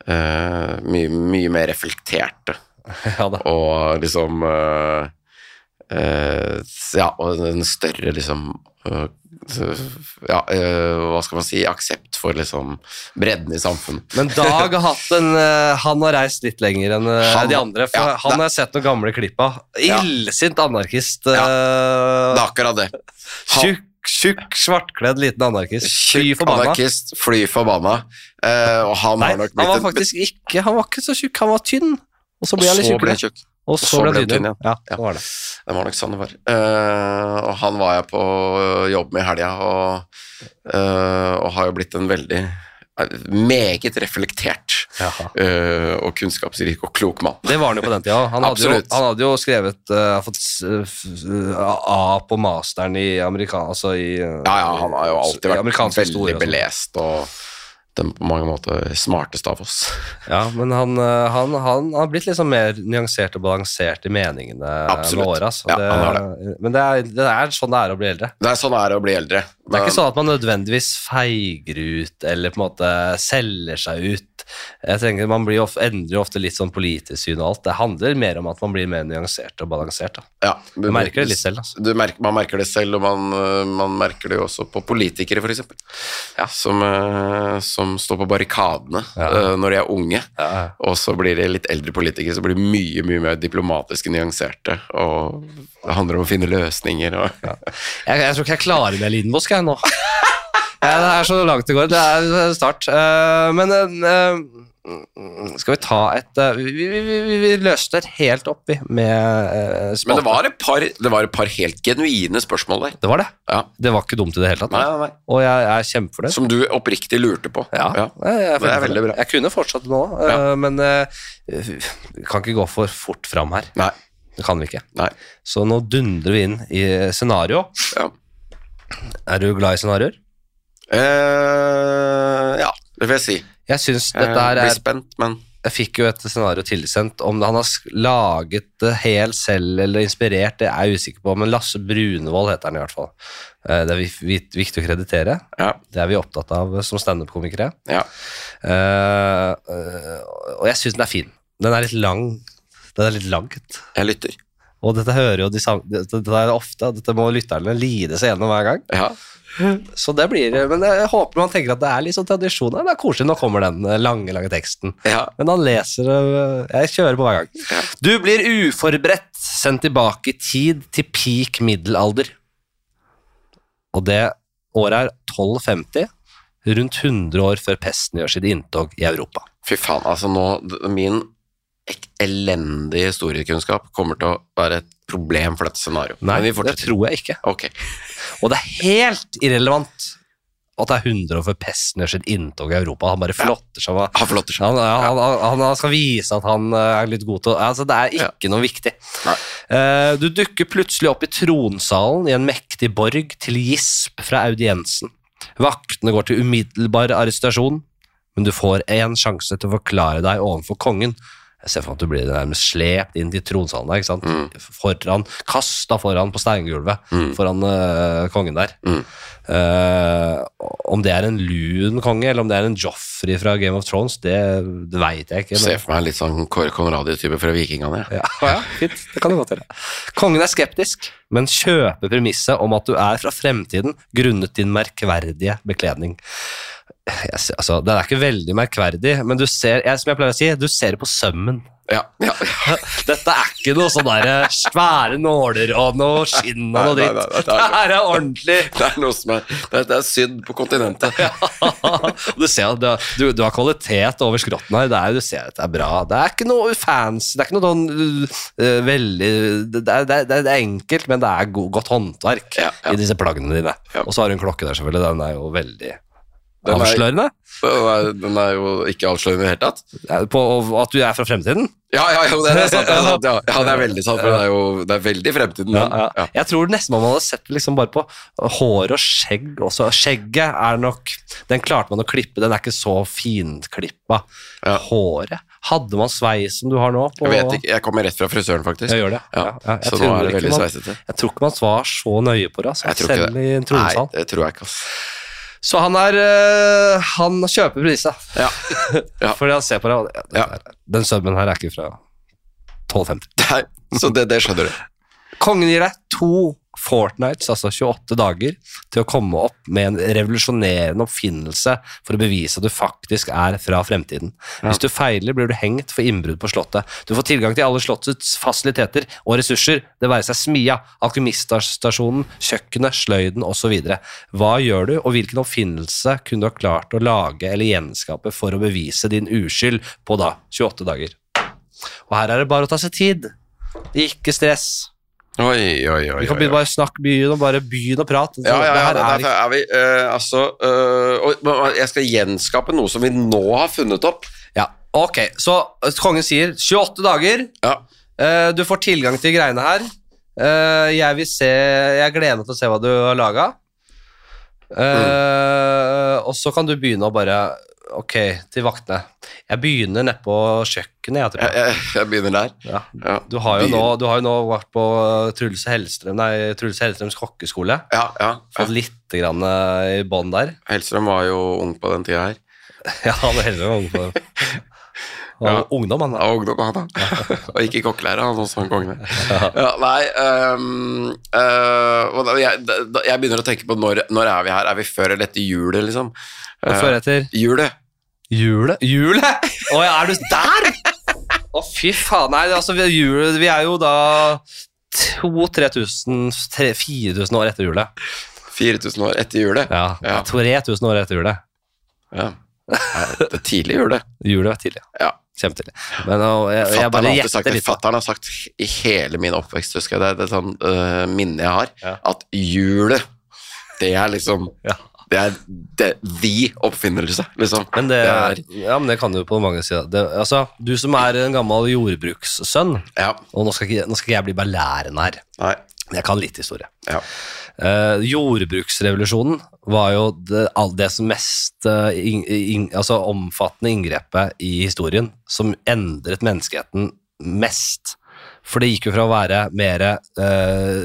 Speaker 2: eh, mye, mye mer reflekterte.
Speaker 1: ja da.
Speaker 2: Og liksom eh, eh, Ja, og en større liksom eh, ja, eh, hva skal man si Aksept for liksom bredden i samfunnet.
Speaker 1: Men Dag har hatt en eh, Han har reist litt lenger enn eh,
Speaker 2: Han-
Speaker 1: de andre. For
Speaker 2: ja,
Speaker 1: han
Speaker 2: da-
Speaker 1: har sett noen gamle klipp av.
Speaker 2: Ja.
Speaker 1: Illsint anarkist. eh,
Speaker 2: Det er akkurat det. Han-
Speaker 1: Tjukk, tjukk, svartkledd liten anarkist. Fy
Speaker 2: Tjukk
Speaker 1: forbanna.
Speaker 2: anarkist, fly forbanna. Eh, og han
Speaker 1: Nei,
Speaker 2: har nok
Speaker 1: han
Speaker 2: blitt
Speaker 1: var
Speaker 2: en-
Speaker 1: faktisk ikke Han var ikke så tjukk, han var tynn. Og så
Speaker 2: Og
Speaker 1: ble han litt
Speaker 2: så ble
Speaker 1: tjukkere.
Speaker 2: jeg tjukk.
Speaker 1: Og så ble han tynn
Speaker 2: igjen.
Speaker 1: igjen. Ja,
Speaker 2: Ja.
Speaker 1: det var det.
Speaker 2: Det var nok sånn det var. Eh, og han var jeg på eh, jobb med i helga, og, eh, og har jo blitt en veldig eh, meget reflektert
Speaker 1: Jaha.
Speaker 2: eh, og kunnskapsrik og klok mann.
Speaker 1: Det var han jo på den tida. Han hadde, jo,
Speaker 2: Absolutt.
Speaker 1: han hadde jo skrevet eh, fått eh, f- eh, A på masteren i Amerika, altså i eh,
Speaker 2: Ja, ja, han har jo alltid
Speaker 1: i
Speaker 2: vært
Speaker 1: amerikansk
Speaker 2: veldig
Speaker 1: historie og sånn.
Speaker 2: belest og den på mange måter smarteste av oss.
Speaker 1: Ja, men han, eh, han, han har blitt liksom mer nyansert og balansert i meningene med
Speaker 2: Absolutt.
Speaker 1: åra. så
Speaker 2: Ja, han
Speaker 1: det- Men det er, det er sånn det er å bli eldre.
Speaker 2: Det er sånn er det å bli eldre.
Speaker 1: Det er
Speaker 2: Men-
Speaker 1: ikke sånn at man nødvendigvis feiger ut eller på en måte selger seg ut. Jeg tenker Man blir of- endrer jo ofte litt sånn politisk syn og alt. Det handler mer om at man blir mer nyansert og balansert. da.
Speaker 2: Ja,
Speaker 1: Du merker det litt selv. altså.
Speaker 2: du merker, man merker det selv, og man, øh, man merker det jo også på politikere, f.eks. Ja, som, øh, som står på barrikadene
Speaker 1: Ja.
Speaker 2: øh, når de er unge.
Speaker 1: Ja.
Speaker 2: Og så blir de litt eldre politikere, så blir de mye mye mer diplomatiske, nyanserte. Og det handler om å finne løsninger og
Speaker 1: Jeg, jeg tror ikke jeg klarer mer Lidenbosk jeg nå. Ja, det er så langt det går. Det er start. Eh, men eh, skal vi ta et eh, vi, vi, vi, vi- vi løste et helt oppi med uh,
Speaker 2: Men det var, et par, det var et par helt genuine spørsmål der.
Speaker 1: det var det.
Speaker 2: Ja.
Speaker 1: Det var ikke dumt i det hele tatt.
Speaker 2: Nei, nei, nei.
Speaker 1: Og jeg er kjempefornøyd.
Speaker 2: Som du oppriktig lurte på.
Speaker 1: Ja,
Speaker 2: Ja.
Speaker 1: Jeg, jeg,
Speaker 2: Det er veldig bra.
Speaker 1: Jeg kunne fortsatt nå,
Speaker 2: Ja.
Speaker 1: eh, men eh, vi kan ikke gå for fort fram her.
Speaker 2: Nei.
Speaker 1: Det kan vi ikke.
Speaker 2: nei.
Speaker 1: Så nå dundrer vi inn i scenario.
Speaker 2: Ja.
Speaker 1: Er du glad i scenarioer?
Speaker 2: Eh, ja, det vil jeg si.
Speaker 1: Jeg syns
Speaker 2: Jeg
Speaker 1: dette her
Speaker 2: Eh, blir
Speaker 1: er
Speaker 2: spent, men
Speaker 1: Jeg fikk jo et scenario tilsendt. Om han har sk- laget det helt selv eller inspirert, det er jeg usikker på, men Lasse Brunevold heter han i hvert fall. Eh, Det er vi- vi- viktig å kreditere.
Speaker 2: ja.
Speaker 1: Det er vi opptatt av som standup-komikere.
Speaker 2: ja.
Speaker 1: Eh, eh, og jeg syns den er fin. Den er litt lang. Den er litt langt.
Speaker 2: Jeg lytter.
Speaker 1: Og dette hører jo de sam- dette, dette er ofte, dette må lytterne lide seg gjennom hver gang.
Speaker 2: Ja.
Speaker 1: Så det blir, Men jeg håper man tenker at det er litt sånn tradisjon her. Det er koselig, nå kommer den eh, lange, lange teksten.
Speaker 2: Ja.
Speaker 1: Men han leser eh, Jeg kjører på hver gang.
Speaker 2: Ja.
Speaker 1: Du blir uforberedt sendt tilbake i tid til peak middelalder. Og det året er 1250, rundt 100 år før pesten gjør sitt inntog i Europa.
Speaker 2: Fy faen, altså nå d- Min ek- elendige historiekunnskap kommer til å være et problem for dette scenarioet.
Speaker 1: Nei,
Speaker 2: Men vi
Speaker 1: det
Speaker 2: fortsetter.
Speaker 1: tror jeg ikke.
Speaker 2: Ok.
Speaker 1: Og det er helt irrelevant at det er 100 år før pesten gjør sitt inntog i Europa. Han bare flotter seg. og-
Speaker 2: Ha flotter seg.
Speaker 1: Han, han, han, han skal vise at han eh, er litt god til å altså, Det er ikke noe viktig.
Speaker 2: Nei.
Speaker 1: Eh, Du dukker plutselig opp i tronsalen i en mektig borg til gisp fra audiensen. Vaktene går til umiddelbar arrestasjon, men du får én sjanse til å forklare deg overfor kongen. Jeg ser for meg at du blir nærmest slept inn til tronsalen der, ikke sant?
Speaker 2: Mm.
Speaker 1: Foran, kasta foran på steingulvet, foran eh, kongen der.
Speaker 2: Mm.
Speaker 1: Eh, om det er en lun konge, eller om det er en Joffrey fra Game of Thrones, det, det veit jeg ikke. men-
Speaker 2: Se for meg litt sånn Kåre Conradi-type fra Vikingene. Ja.
Speaker 1: ja, ja, fint. Det kan du godt gjøre. Kongen er skeptisk, men kjøper premisset om at du er fra fremtiden grunnet din merkverdige bekledning. Jeg, ser- altså, det er ikke veldig merkverdig, men du ser, jeg, som jeg pleier å si, du ser det på sømmen.
Speaker 2: Ja. Ja.
Speaker 1: Dette er ikke noe sånn der svære nåler og noe skinn og noe
Speaker 2: Nei, nei, nei,
Speaker 1: dritt.
Speaker 2: nei, det er
Speaker 1: Det her er ordentlig.
Speaker 2: Det er noe som er Det er, det er sydd på kontinentet.
Speaker 1: du ser at du, har- du, du har kvalitet over skrotten her. Det er, du ser at det er bra. Det er ikke noe fancy, det er ikke noe sånn øh, veldig det er, det, er, det er enkelt, men det er go godt håndverk
Speaker 2: Ja, ja.
Speaker 1: i disse plaggene dine.
Speaker 2: Ja.
Speaker 1: Og så har du en klokke der, selvfølgelig. Den er jo veldig
Speaker 2: Den er-
Speaker 1: avslørende. eh,
Speaker 2: Den er, den er jo ikke avslørende i det hele tatt.
Speaker 1: På og at du er fra fremtiden.
Speaker 2: Ja, ja, jo, det er sant. Det er, sant ja. ja, det er veldig sant, for det er jo det er veldig fremtiden.
Speaker 1: Ja,
Speaker 2: den.
Speaker 1: ja.
Speaker 2: Ja.
Speaker 1: Jeg tror nesten man hadde sett det liksom bare på hår og skjegg også. Skjegget er nok Den klarte man å klippe, den er ikke så finklippa.
Speaker 2: Ja.
Speaker 1: Håret Hadde man sveis som du har nå? på-
Speaker 2: Jeg vet ikke, jeg kommer rett fra frisøren, faktisk.
Speaker 1: Jeg gjør det.
Speaker 2: Ja.
Speaker 1: Ja, ja. Jeg
Speaker 2: Så nå
Speaker 1: tror
Speaker 2: er det
Speaker 1: ikke
Speaker 2: veldig
Speaker 1: man-
Speaker 2: sveisete.
Speaker 1: Jeg tror ikke man var så nøye på det, altså.
Speaker 2: Jeg tror ikke
Speaker 1: selv i en
Speaker 2: Nei,
Speaker 1: tronsal.
Speaker 2: det tror jeg ikke, ass.
Speaker 1: Så han er øh, Han kjøper prisa.
Speaker 2: Ja. Ja.
Speaker 1: Fordi han ser på det, og det, det
Speaker 2: Ja.
Speaker 1: er- den sømmen her er ikke fra 1250.
Speaker 2: Nei, så det, det skjønner du.
Speaker 1: Kongen gir deg to fortnights, altså 28 dager, til å komme opp med en revolusjonerende oppfinnelse for å bevise at du faktisk er fra fremtiden. Hvis du feiler, blir du hengt for innbrudd på slottet. Du får tilgang til alle slottets fasiliteter og ressurser, det være seg smia, alkymiststasjonen, kjøkkenet, sløyden osv. Hva gjør du, og hvilken oppfinnelse kunne du ha klart å lage eller gjenskape for å bevise din uskyld på da 28 dager? Og her er det bare å ta seg tid. Ikke stress.
Speaker 2: Oi, oi, oi.
Speaker 1: Vi kan
Speaker 2: oi,
Speaker 1: begynne
Speaker 2: oi.
Speaker 1: bare snakke begynn og bare begynn å prate.
Speaker 2: Ja, ja,
Speaker 1: Det
Speaker 2: ja,
Speaker 1: her er
Speaker 2: derfor er vi eh, Altså eh, og, men Jeg skal gjenskape noe som vi nå har funnet opp.
Speaker 1: ikke- ja. Ok, så eh, kongen sier 28 dager.
Speaker 2: Ja.
Speaker 1: eh, du får tilgang til greiene her. Eh, jeg vil se Jeg gleder meg til å Eh, se hva du har laga. Og så kan du begynne å bare Ok, til vaktene. Jeg begynner nedpå kjøkkenet, jeg
Speaker 2: Jeg,
Speaker 1: tror.
Speaker 2: jeg, jeg begynner der.
Speaker 1: Ja.
Speaker 2: Ja.
Speaker 1: Du, har jo nå,
Speaker 2: Begynner-
Speaker 1: du har jo nå vært på eh, Truls Hellstrøm, nei, Truls Hellstrøms kokkeskole.
Speaker 2: Ja, ja. ja.
Speaker 1: Fått litt grann eh, i bånd der.
Speaker 2: Hellstrøm var jo ung på den tida her.
Speaker 1: Ja, han er heller ung på det. Han var
Speaker 2: Ja.
Speaker 1: Ungdom, han. da.
Speaker 2: Ja, ungdom, han da. og ikke kokkelærer, han også han kongen der. Ja, nei, øhm, øh, og da- jeg, da, jeg begynner å tenke på når, når er vi her? Er vi før eller etter julet, liksom?
Speaker 1: Og Før etter
Speaker 2: Eh, julet.
Speaker 1: Julet? Julet? Å ja, er du der? Å fy faen, nei, altså vi- julet, vi er jo da 2000-3000, 4000 år etter julet.
Speaker 2: 4000 år etter julet.
Speaker 1: Ja,
Speaker 2: Ja.
Speaker 1: 3000 år etter julet.
Speaker 2: Ja. Nei, Det er tidlig julet.
Speaker 1: Julet var tidlig.
Speaker 2: Ja.
Speaker 1: Kjempetidlig. Men å, jeg, jeg
Speaker 2: Fatteren
Speaker 1: bare
Speaker 2: har, alltid sagt
Speaker 1: gjetter
Speaker 2: det.
Speaker 1: litt. da.
Speaker 2: Fatteren har sagt i hele min oppvekst, husker jeg, det er det er sånn øh, minne jeg har,
Speaker 1: Ja.
Speaker 2: at julet, det er liksom
Speaker 1: Ja.
Speaker 2: Det er det, the oppfinnelse, liksom.
Speaker 1: Men det,
Speaker 2: Det
Speaker 1: ja, men det kan du på mange sider. Det, altså, du som er en gammel jordbrukssønn,
Speaker 2: Ja.
Speaker 1: og nå skal ikke, nå skal ikke jeg bli belærende her,
Speaker 2: Nei.
Speaker 1: men jeg kan litt historie.
Speaker 2: Ja.
Speaker 1: Eh, jordbruksrevolusjonen var jo det, all det som mest eh, ing- ing- altså omfattende inngrepet i historien som endret menneskeheten mest. For det gikk jo fra å være mer uh,
Speaker 2: Ja,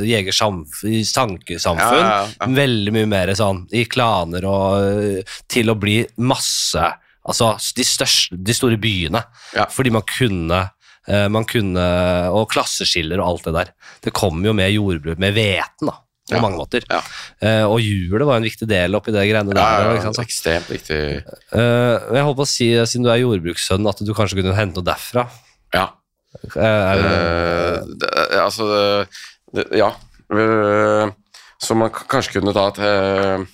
Speaker 1: jegersankesamfunn,
Speaker 2: ja, ja.
Speaker 1: veldig mye mer sånn i klaner og eh, til å bli masse Altså de, største, de store byene.
Speaker 2: Ja.
Speaker 1: Fordi man kunne, eh, man kunne Og klasseskiller og alt det der. Det kom jo med jordbruk, med hveten, da. På
Speaker 2: Ja.
Speaker 1: mange måter.
Speaker 2: Ja.
Speaker 1: Eh, og hjulet var en viktig del oppi det greiene der.
Speaker 2: Ja, ja,
Speaker 1: ikke sant?
Speaker 2: ja, ekstremt viktig.
Speaker 1: Eh, jeg holdt på å si, siden du er jordbrukssønn, at du kanskje kunne hente noe derfra.
Speaker 2: Ja.
Speaker 1: Eh, er det-
Speaker 2: Eh, det, altså det, det, Ja. Eh, så man k- kanskje kunne ta et øh,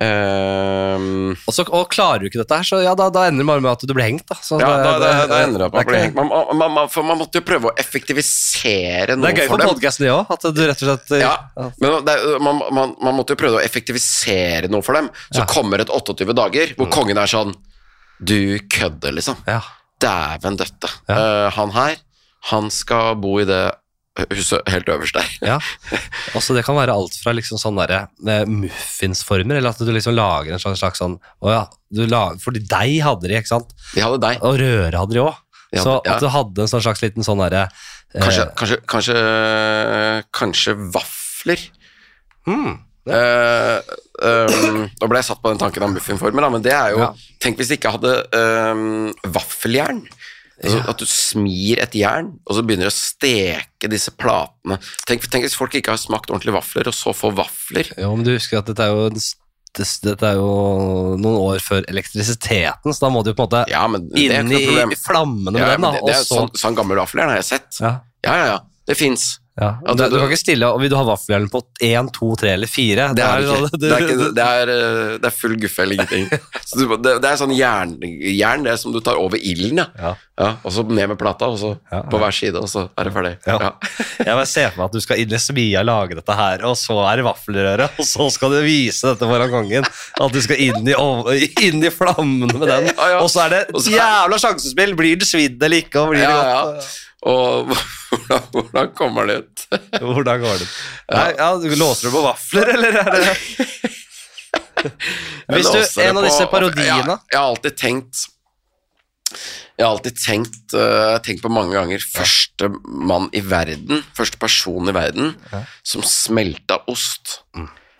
Speaker 2: eh, eh,
Speaker 1: og, så, og klarer du ikke dette her, så ja, da, da ender det bare med at du blir hengt. Da, så
Speaker 2: ja, da, da, da ender det opp
Speaker 1: det er
Speaker 2: med å bli
Speaker 1: ikke-
Speaker 2: hengt. Man, man, man, for man måtte jo prøve å effektivisere
Speaker 1: Det
Speaker 2: noe
Speaker 1: er gøy
Speaker 2: for
Speaker 1: for
Speaker 2: dem.
Speaker 1: podkasten, det òg. At du rett og slett
Speaker 2: eh, Ja, men det, er- man, man, man måtte jo prøve å effektivisere noe for dem. Så
Speaker 1: Ja. Mm.
Speaker 2: kommer et 28 dager hvor kongen er sånn Du kødder, liksom.
Speaker 1: Ja.
Speaker 2: Dæven døtte. Eh, han her, han skal bo i det huset helt øverst der.
Speaker 1: ja. Også Altså, det kan være alt fra liksom sånne der, eh, muffinsformer, eller at du liksom lager en sånn slags sånn å ja, du la- Fordi deig hadde de, ikke sant?
Speaker 2: De hadde deg.
Speaker 1: Og røre hadde de òg.
Speaker 2: De hadde-
Speaker 1: Så
Speaker 2: ja.
Speaker 1: at du hadde en sånn slags liten sånn derre eh,
Speaker 2: Kanskje, kanskje, kanskje, eh, kanskje vafler?
Speaker 1: mm,
Speaker 2: Eh, ehm, nå ble jeg satt på den tanken av muffinformen, da, men det er jo
Speaker 1: Ja.
Speaker 2: Tenk hvis de ikke hadde ehm, vaffeljern. Altså, At du smir et jern, og så begynner du å steke disse platene. Tenk, tenk hvis folk ikke har smakt ordentlige vafler, og så får vafler.
Speaker 1: Jo, men du husker at dette er jo det- dette er jo noen år før elektrisiteten, så da må du jo på en måte
Speaker 2: Ja, men det er
Speaker 1: inn
Speaker 2: ikke noe
Speaker 1: i
Speaker 2: problem.
Speaker 1: flammene med
Speaker 2: Ja,
Speaker 1: den, da.
Speaker 2: men det, det er,
Speaker 1: og så
Speaker 2: sånn, sånn gammel vaffeljern har jeg sett.
Speaker 1: ja.
Speaker 2: Ja, ja, ja. Det fins.
Speaker 1: Ja,
Speaker 2: Ja,
Speaker 1: du,
Speaker 2: det-
Speaker 1: du kan ikke stille og Vil du ha vaffeljern på 1, 2, 3 eller 4?
Speaker 2: Det er det ikke.
Speaker 1: sånn- du-
Speaker 2: Det er, ikke, det er, eh, det er full guffe eller ingenting. Så du, det, det er sånn jern, jern, det er som du tar over ilden, ja.
Speaker 1: Ja.
Speaker 2: Ja, og så ned med plata, og så
Speaker 1: Ja,
Speaker 2: på hver side, og så er det ferdig.
Speaker 1: Ja.
Speaker 2: Ja.
Speaker 1: Jeg bare ser for meg at du skal inn i smia og lage dette her, og så er det vaffelrøre, og så skal du vise dette foran kongen. At du skal inn i, ov- inn i flammene med den.
Speaker 2: Ja, ja.
Speaker 1: Og så er det
Speaker 2: Og så er-
Speaker 1: jævla sjansespill! Blir det svidd eller ikke? Og blir
Speaker 2: Ja,
Speaker 1: det
Speaker 2: ja.
Speaker 1: godt?
Speaker 2: Og hvordan, hvordan kommer det ut?
Speaker 1: Hvordan går det? Nei, ja, du låser du på vafler, eller er det Hvis
Speaker 2: Jeg
Speaker 1: du,
Speaker 2: låser det
Speaker 1: En av
Speaker 2: på-
Speaker 1: disse
Speaker 2: Jeg,
Speaker 1: parodiene
Speaker 2: jeg har alltid tenkt jeg har alltid tenkt, eh, tenkt på mange ganger første mann i verden, første person i verden,
Speaker 1: Ja.
Speaker 2: som smelta ost.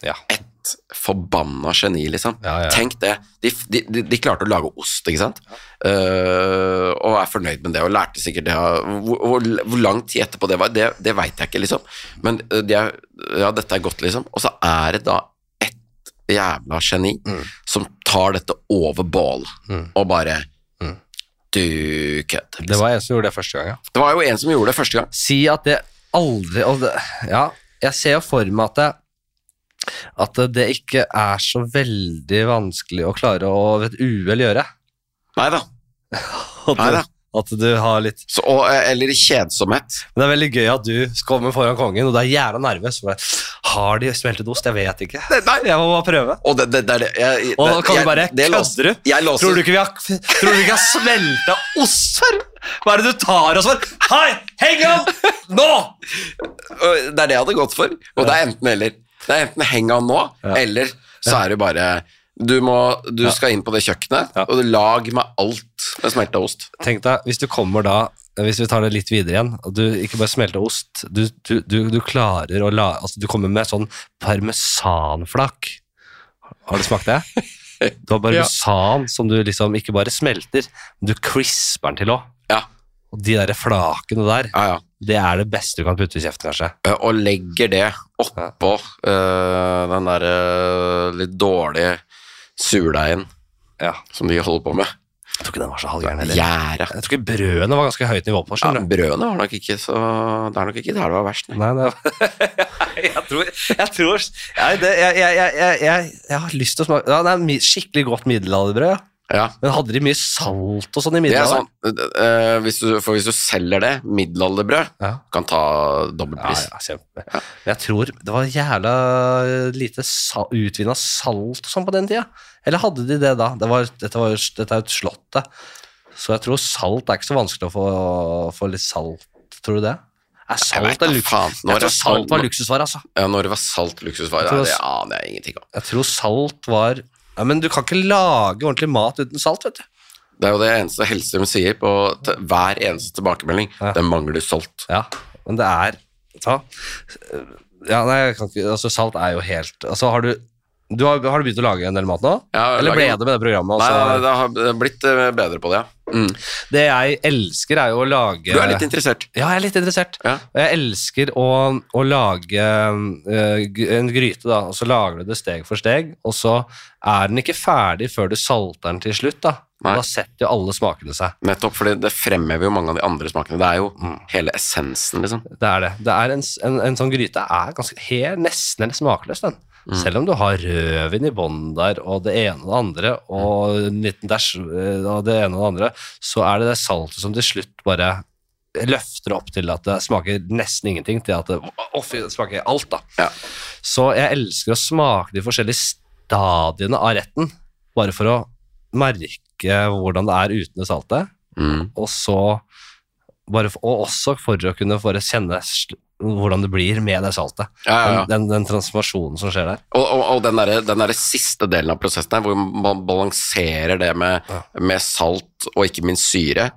Speaker 1: Ja.
Speaker 2: Et forbanna geni, liksom.
Speaker 1: Ja, ja.
Speaker 2: Tenk det. De, de, de, de klarte å lage ost, ikke sant? Eh, og er fornøyd med det, og lærte sikkert det. av- Hvor, hvor, hvor lang tid etterpå det var, det, det veit jeg ikke, liksom. Men eh, de er, ja, dette er godt, liksom. Og så er det da ett jævla geni
Speaker 1: Mm.
Speaker 2: som tar dette over bål,
Speaker 1: Mm.
Speaker 2: og bare
Speaker 1: Mm.
Speaker 2: Du kødder.
Speaker 1: Det var en som gjorde det første gang, ja.
Speaker 2: Det var jo en som gjorde det første gang.
Speaker 1: si at det aldri og det, Ja, jeg ser jo for meg at det, at det ikke er så veldig vanskelig å klare å ved et uhell gjøre.
Speaker 2: Nei da.
Speaker 1: At du,
Speaker 2: Neida.
Speaker 1: at du har litt
Speaker 2: Så, og, eh, eller i kjedsomhet.
Speaker 1: Men det er veldig gøy at du kommer foran kongen, og du er jævla nervøs. for det. Har de smeltet ost? Jeg vet ikke.
Speaker 2: Nei,
Speaker 1: Jeg må bare prøve.
Speaker 2: Og det, det, det, er det, jeg,
Speaker 1: Og da kan
Speaker 2: jeg-
Speaker 1: du bare
Speaker 2: det
Speaker 1: Kødder
Speaker 2: låser-
Speaker 1: du?
Speaker 2: Jeg låser
Speaker 1: Tror du ikke vi har, tror du ikke jeg har smelta ost før? Hva er det du tar oss for? Hei, heng opp! Nå!
Speaker 2: Og Det er det jeg hadde gått for. Og det er enten eller. Det er enten heng av nå,
Speaker 1: Ja.
Speaker 2: eller så er det bare Du, må, du skal inn på det kjøkkenet,
Speaker 1: Ja.
Speaker 2: og lag med alt med smelta ost.
Speaker 1: Tenk deg, hvis du kommer da hvis vi tar det litt videre igjen, og du ikke bare smelter ost Du, du, du, du klarer å la altså Du kommer med sånn parmesanflak. Har du smakt det? Du har parmesan som du liksom ikke bare smelter, men du crisper den til òg.
Speaker 2: Ja.
Speaker 1: Og de der flakene der,
Speaker 2: Ja, ja.
Speaker 1: det er det beste du kan putte i kjeften, kanskje.
Speaker 2: Eh, Og legger det oppå eh, den der eh, litt dårlige surdeigen
Speaker 1: Ja.
Speaker 2: som de holder på med.
Speaker 1: Jeg tror ikke den var så halvgæren heller.
Speaker 2: Gjære.
Speaker 1: Jeg tror ikke brødene var ganske høyt nivå på,
Speaker 2: Ja,
Speaker 1: skjønner du.
Speaker 2: brødene var nok ikke så Det er nok ikke der det var verst. nei.
Speaker 1: Nei, det jeg tror, jeg, tror nei, det, jeg, jeg, jeg, jeg, jeg, jeg har lyst til å smake ja, Det er mi- skikkelig godt middelalderbrød. ja.
Speaker 2: Ja.
Speaker 1: Men hadde de mye salt og sånn i
Speaker 2: Det er sånn,
Speaker 1: middelalderen?
Speaker 2: eh, hvis du, for hvis du selger det, middelalderbrød,
Speaker 1: Ja.
Speaker 2: kan ta dobbel
Speaker 1: Ja,
Speaker 2: pris.
Speaker 1: ja, kjempe. Men jeg tror det var jævla eh, lite sa utvinna salt og sånn på den tida. Eller hadde de det da? Det var, dette, var, jo- dette er jo et slott, det. Så jeg tror salt er ikke så vanskelig å få, få litt salt, tror du det? Er
Speaker 2: vet
Speaker 1: salt
Speaker 2: da
Speaker 1: en luksus?
Speaker 2: faen, når
Speaker 1: Jeg
Speaker 2: er
Speaker 1: tror salt var
Speaker 2: salt-
Speaker 1: luksusvare, altså.
Speaker 2: Ja, når det var salt luksusvare,
Speaker 1: Jeg tror
Speaker 2: det
Speaker 1: det-
Speaker 2: aner jeg ingenting om.
Speaker 1: Jeg tror salt var ja, Men du kan ikke lage ordentlig mat uten salt, vet du.
Speaker 2: Det er jo det eneste Hellstrøm sier på t hver eneste tilbakemelding.
Speaker 1: Ja.
Speaker 2: Det mangler salt.
Speaker 1: Ja, men det er ja. ja, nei, jeg kan ikke Altså, salt er jo helt Altså, har du du har, har du begynt å lage en del mat nå?
Speaker 2: Ja, jeg
Speaker 1: Eller ble
Speaker 2: lager-
Speaker 1: det med det programmet?
Speaker 2: Nei, nei,
Speaker 1: Altså,
Speaker 2: det har det har blitt eh, bedre på det, ja. Mm.
Speaker 1: det jeg elsker, er jo å lage
Speaker 2: Du er litt interessert.
Speaker 1: Ja, jeg er litt interessert.
Speaker 2: Ja.
Speaker 1: Jeg elsker å, å lage eh, g- en gryte, da, og så lager du det steg for steg, og så er den ikke ferdig før du salter den til slutt, da.
Speaker 2: Nei.
Speaker 1: Da setter jo alle smakene seg.
Speaker 2: Nettopp, fordi det fremhever jo mange av de andre smakene. Det er jo
Speaker 1: Mm.
Speaker 2: hele essensen, liksom.
Speaker 1: Det er det. det er en, s- en, en sånn gryte er ganske, helt, nesten helt smakløs, den. Selv om du har rødvin i bånn der, og det ene og det andre, og en liten dash eh, og det ene og det andre, så er det det saltet som til slutt bare løfter opp til at det smaker nesten ingenting, til at det, å, fy, det smaker alt, da.
Speaker 2: Ja.
Speaker 1: Så jeg elsker å smake de forskjellige stadiene av retten, bare for å merke hvordan det er uten det saltet
Speaker 2: Mm.
Speaker 1: og så bare, for- og også for å kunne få kjenne sl- hvordan det blir med det saltet.
Speaker 2: Ja, ja, ja.
Speaker 1: Den, den, den transformasjonen som skjer der.
Speaker 2: Og, og, og den, der, den der siste delen av prosessen her, hvor man balanserer det med,
Speaker 1: Ja.
Speaker 2: med salt og ikke minst syre,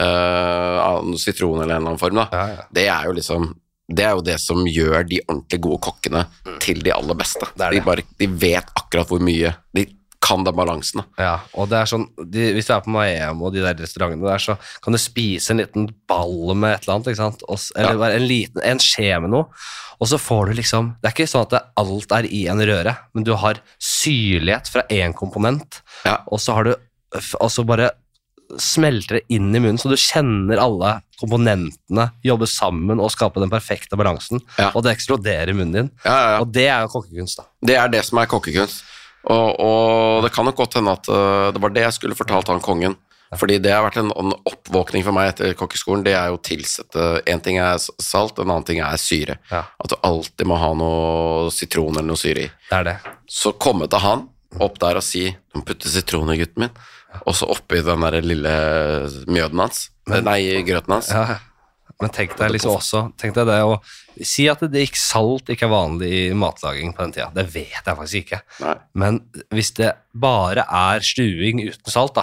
Speaker 2: eh, av noe sitron eller en eller annen form, da. Det er jo liksom det er jo det som gjør de ordentlig gode kokkene til de aller beste.
Speaker 1: er
Speaker 2: De,
Speaker 1: Mm. det.
Speaker 2: bare, de vet akkurat hvor mye De kan den balansen. da.
Speaker 1: Ja, og det er sånn, de, Hvis du er på Maem og de der restaurantene der, så kan du spise en liten ball med et eller annet. ikke sant? Og, s- eller
Speaker 2: Ja.
Speaker 1: bare en liten, en skje med noe. Og så får du liksom Det er ikke sånn at det, alt er i en røre, men du har syrlighet fra én komponent,
Speaker 2: Ja.
Speaker 1: og så har du f- og så bare smelter det inn i munnen, så du kjenner alle komponentene jobbe sammen og skape den perfekte balansen,
Speaker 2: Ja.
Speaker 1: og det eksploderer i munnen din.
Speaker 2: Ja, ja, ja.
Speaker 1: Og det er jo kokkekunst, da.
Speaker 2: Det er det som er kokkekunst. Og, og det kan nok godt hende at øh, det var det jeg skulle fortalt han kongen. Fordi det har vært en, en oppvåkning for meg etter kokkeskolen. Det er jo å tilsette En ting er s- salt, en annen ting er syre.
Speaker 1: Ja.
Speaker 2: At du alltid må ha noe sitron eller noe syre i.
Speaker 1: Det er det.
Speaker 2: Så komme til han opp der og si Du må putte sitron i gutten min. Og så oppi den der lille mjøden hans. Nei, grøten hans.
Speaker 1: Ja. Men tenk deg liksom også tenk deg det å Si at det ikke salt ikke er vanlig i matlaging på den tida. Det vet jeg faktisk ikke.
Speaker 2: Nei.
Speaker 1: Men hvis det bare er stuing uten salt, da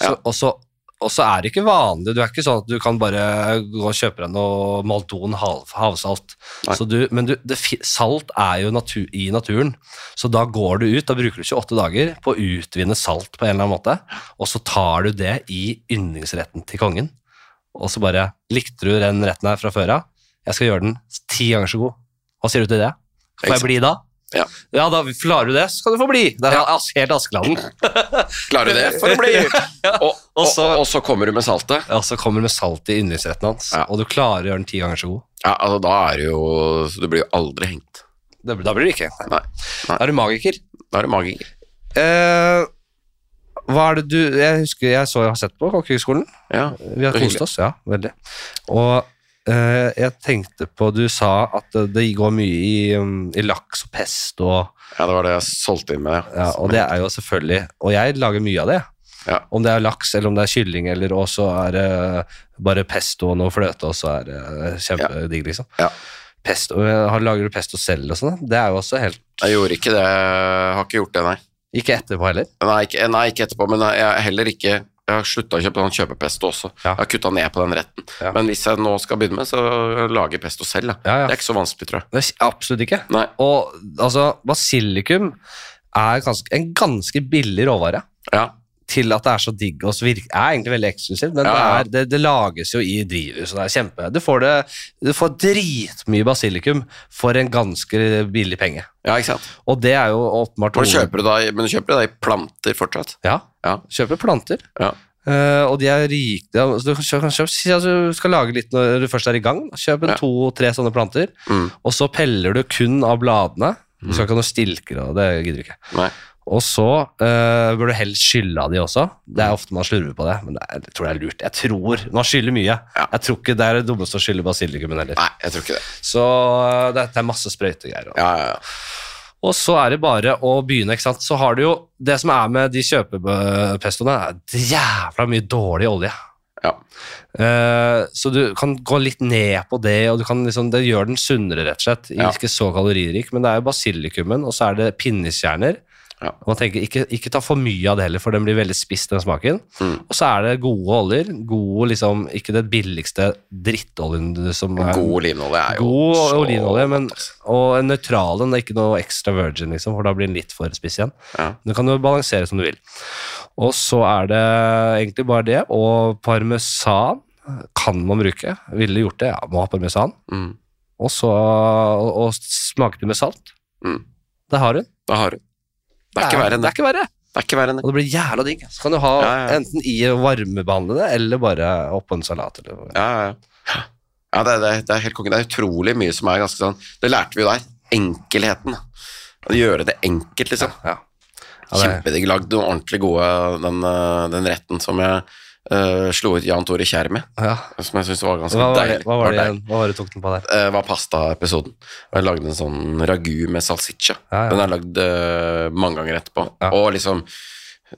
Speaker 1: så,
Speaker 2: Ja.
Speaker 1: og, så, og så er det ikke vanlig. Du er ikke sånn at du kan bare gå og kjøpe deg noe Maldon hav, havsalt.
Speaker 2: Nei.
Speaker 1: Så du, men du, det, fi- salt er jo natu, i naturen, så da går du ut. Da bruker du 28 dager på å utvinne salt på en eller annen måte, og så tar du det i yndlingsretten til kongen. Og så bare Likte du den retten her fra før av? Jeg skal gjøre den ti ganger så god. Hva sier du til det? Får
Speaker 2: Ikke sant.
Speaker 1: jeg bli da?
Speaker 2: Ja.
Speaker 1: Ja, da klarer du det, så skal du få bli. Det er as- helt Askeladden.
Speaker 2: Klarer du det? For det blir og, og, og så kommer du med saltet.
Speaker 1: Ja, så kommer du med salt i yndlingsretten hans,
Speaker 2: Ja.
Speaker 1: og du klarer å gjøre den ti ganger så god.
Speaker 2: Ja, altså da er det jo Du blir jo aldri hengt.
Speaker 1: Det, da blir du ikke.
Speaker 2: Nei.
Speaker 1: Da er du magiker.
Speaker 2: Da er du magiker.
Speaker 1: Eh, hva er det du Jeg husker jeg så jeg har sett på Kokkehøgskolen.
Speaker 2: Ja.
Speaker 1: Vi har
Speaker 2: Det er
Speaker 1: kost
Speaker 2: hyggelig.
Speaker 1: oss, ja, veldig. Og eh, jeg tenkte på Du sa at eh, det går mye i, um, i laks og pesto og
Speaker 2: ja, det var det jeg solgte inn med.
Speaker 1: Ja, og det er jo selvfølgelig Og jeg lager mye av det.
Speaker 2: Ja.
Speaker 1: Om det er laks, eller om det er kylling, eller også er det bare pesto og noe fløte, og så er det kjempedigg, liksom. eh,
Speaker 2: Ja.
Speaker 1: Pesto, har- lager du pesto selv og sånn? da? Det er jo også helt
Speaker 2: Jeg gjorde ikke det. Jeg har ikke gjort det, nei.
Speaker 1: Ikke etterpå heller.
Speaker 2: Nei, ikke, nei, ikke etterpå, men jeg er heller ikke jeg har slutta å kjøpe sånn kjøpepesto også.
Speaker 1: Ja.
Speaker 2: Jeg har kutta ned på den retten.
Speaker 1: Ja.
Speaker 2: Men hvis jeg nå skal begynne med, så lager jeg pesto selv. Da.
Speaker 1: Ja, ja.
Speaker 2: Det er ikke så vanskelig, tror jeg.
Speaker 1: Det er absolutt ikke.
Speaker 2: Nei.
Speaker 1: Og altså, basilikum er ganske, en ganske billig råvare
Speaker 2: Ja.
Speaker 1: til at det er så digg og så virker. Det er egentlig veldig eksklusivt, men
Speaker 2: Ja, ja.
Speaker 1: det, er, det, det lages jo i drivhus, og det er kjempe... Du får, det, du får dritmye basilikum for en ganske billig penge.
Speaker 2: ja, ikke sant.
Speaker 1: Og det er jo åpenbart...
Speaker 2: Men kjøper du da, i- men du kjøper det da i planter fortsatt?
Speaker 1: Ja,
Speaker 2: Ja.
Speaker 1: kjøper planter.
Speaker 2: Ja.
Speaker 1: Eh, og de er rike. ja, så Du kan kjø- kan kjøpe, si at du skal lage litt når du først er i gang. da. Kjøp en
Speaker 2: Ja.
Speaker 1: to-tre sånne planter,
Speaker 2: Mm.
Speaker 1: og så peller du kun av bladene. Du skal ikke ha noe stilker og det gidder du ikke.
Speaker 2: Nei.
Speaker 1: Og så eh, bør du helst skylle av de også. Det
Speaker 2: Mm.
Speaker 1: er ofte man slurver på det, men det er, jeg tror det er lurt. Jeg tror Man skyller mye.
Speaker 2: Ja.
Speaker 1: Jeg tror ikke det er det dummeste å skylle basilikummen heller.
Speaker 2: Nei, jeg tror ikke det.
Speaker 1: Så eh, det, det er masse sprøytegreier.
Speaker 2: Ja, ja, ja.
Speaker 1: Og så er det bare å begynne, ikke sant. Så har du jo Det som er med de kjøpepestoene, er jævla mye dårlig olje.
Speaker 2: Ja.
Speaker 1: Eh, så du kan gå litt ned på det, og du kan liksom, det gjør den sunnere, rett og slett.
Speaker 2: Ja.
Speaker 1: Ikke så kaloririk, men det er jo basilikumen, og så er det pinnekjerner.
Speaker 2: Ja.
Speaker 1: Og man tenker, ikke, ikke ta for mye av det heller, for den blir veldig spiss, den smaken.
Speaker 2: Mm.
Speaker 1: Og så er det gode oljer. Gode, liksom, ikke det billigste drittoljen du- som er
Speaker 2: God olivenolje er jo
Speaker 1: God
Speaker 2: så- altså.
Speaker 1: olivenolje, men, og en nøytral en. det er Ikke noe extra virgin, liksom, for da blir den litt for spiss igjen.
Speaker 2: Ja.
Speaker 1: Du kan jo balansere som du vil. Og så er det egentlig bare det. Og parmesan kan man bruke. Ville gjort det, ja. Må ha parmesan.
Speaker 2: Mm.
Speaker 1: Og så og, og smake det med salt.
Speaker 2: Mm.
Speaker 1: Det har hun.
Speaker 2: Da har du. Det er ikke verre enn
Speaker 1: Det
Speaker 2: det.
Speaker 1: er ikke verre.
Speaker 2: Det er ikke verre enn det.
Speaker 1: Og det blir jævla digg. Så kan du ha
Speaker 2: Ja, ja.
Speaker 1: enten i å varmebehandle det, eller bare oppå en salat. Eller.
Speaker 2: Ja, ja, ja. ja det, er- det, er- det er helt konge. Det er utrolig mye som er ganske sånn Det lærte vi jo der. Enkelheten. da. Å gjøre det enkelt, liksom.
Speaker 1: Ja. Ja, det er-
Speaker 2: Kjempedigg lagd. Noen ordentlig gode den, eh, den retten som jeg eh, slo ut Jan Tore Kjær med.
Speaker 1: Ja.
Speaker 2: Som jeg syns var ganske
Speaker 1: Hva var det,
Speaker 2: deilig.
Speaker 1: hva var det,
Speaker 2: deilig.
Speaker 1: igjen? hva var det du tok den på der?
Speaker 2: Eh, var pastaepisoden. Jeg lagde en sånn ragu med salsiccia.
Speaker 1: Ja, ja.
Speaker 2: Den er lagd eh, mange ganger etterpå.
Speaker 1: Ja.
Speaker 2: Og liksom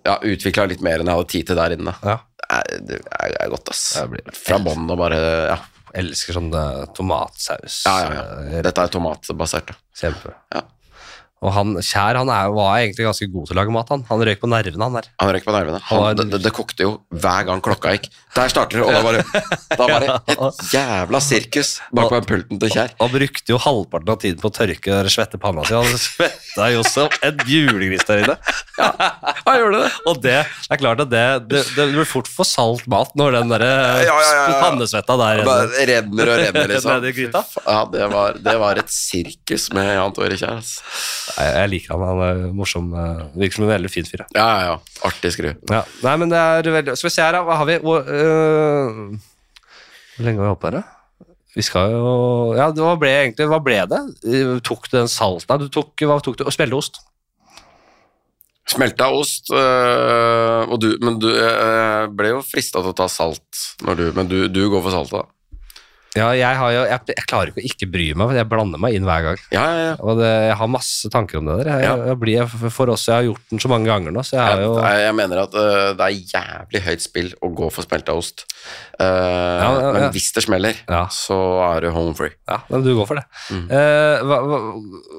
Speaker 2: ja, utvikla litt mer enn jeg hadde tid til der inne.
Speaker 1: Ja.
Speaker 2: Det er, det er, det er godt, ass.
Speaker 1: Det blir-
Speaker 2: Fra bånn og bare Ja,
Speaker 1: Elsker sånn eh, tomatsaus.
Speaker 2: ja, ja. ja.
Speaker 1: eh,
Speaker 2: Dette er tomatbasert, da.
Speaker 1: Kjempe.
Speaker 2: Ja.
Speaker 1: Og han, Kjær han er, var egentlig ganske god til å lage mat. Han Han røyk på nervene, han der.
Speaker 2: Han røyk på nervene.
Speaker 1: Og en-
Speaker 2: Han, det, det, det kokte jo hver gang klokka gikk. Der starter det, og da bare, da bare et jævla sirkus bak på pulten til Kjær.
Speaker 1: Han brukte jo halvparten av tiden på å tørke den svette panna si. Han svetta jo som en julegris der inne.
Speaker 2: Han gjorde det.
Speaker 1: Og det, det er klart at det, det, det blir fort for salt mat når den der eh,
Speaker 2: Ja, ja, ja, ja.
Speaker 1: pannesvetta der inne.
Speaker 2: Bare renner og renner, liksom.
Speaker 1: Nede i gryta.
Speaker 2: Ja, det var, det var et sirkus med Jan Tore Kjær, ass.
Speaker 1: Nei, Jeg liker han. Han er morsom. eh, Virker som en veldig fin fyr. ja.
Speaker 2: Ja, ja, ja. Artig skru.
Speaker 1: Ja. Nei, men det er veldig Skal vi se her, da. Hva har vi? Hvor, øh, hvor lenge har vi holdt på her, da? Vi skal jo Ja, det, hva ble egentlig Hva ble det? Eh, Tok du den salta? Du tok, hva tok du? Og spelleost.
Speaker 2: Smelta ost, øh, og du, men du øh, ble jo frista til å ta salt, når du, men du, du går for saltet, da.
Speaker 1: Ja, jeg har jo jeg, jeg klarer ikke å ikke bry meg, for jeg blander meg inn hver gang.
Speaker 2: Ja, ja, ja.
Speaker 1: Og det, jeg har masse tanker om det der. Jeg,
Speaker 2: Ja.
Speaker 1: jeg blir, jeg, for oss, jeg har gjort den så mange ganger nå, så jeg har
Speaker 2: Jeg,
Speaker 1: jo
Speaker 2: jeg, jeg mener at øh, det er jævlig høyt spill å gå for smelta ost. Eh,
Speaker 1: ja, ja.
Speaker 2: Men hvis det smeller,
Speaker 1: Ja.
Speaker 2: så er du home free.
Speaker 1: Ja, men du går for det.
Speaker 2: Mm.
Speaker 1: Eh, hva, hva,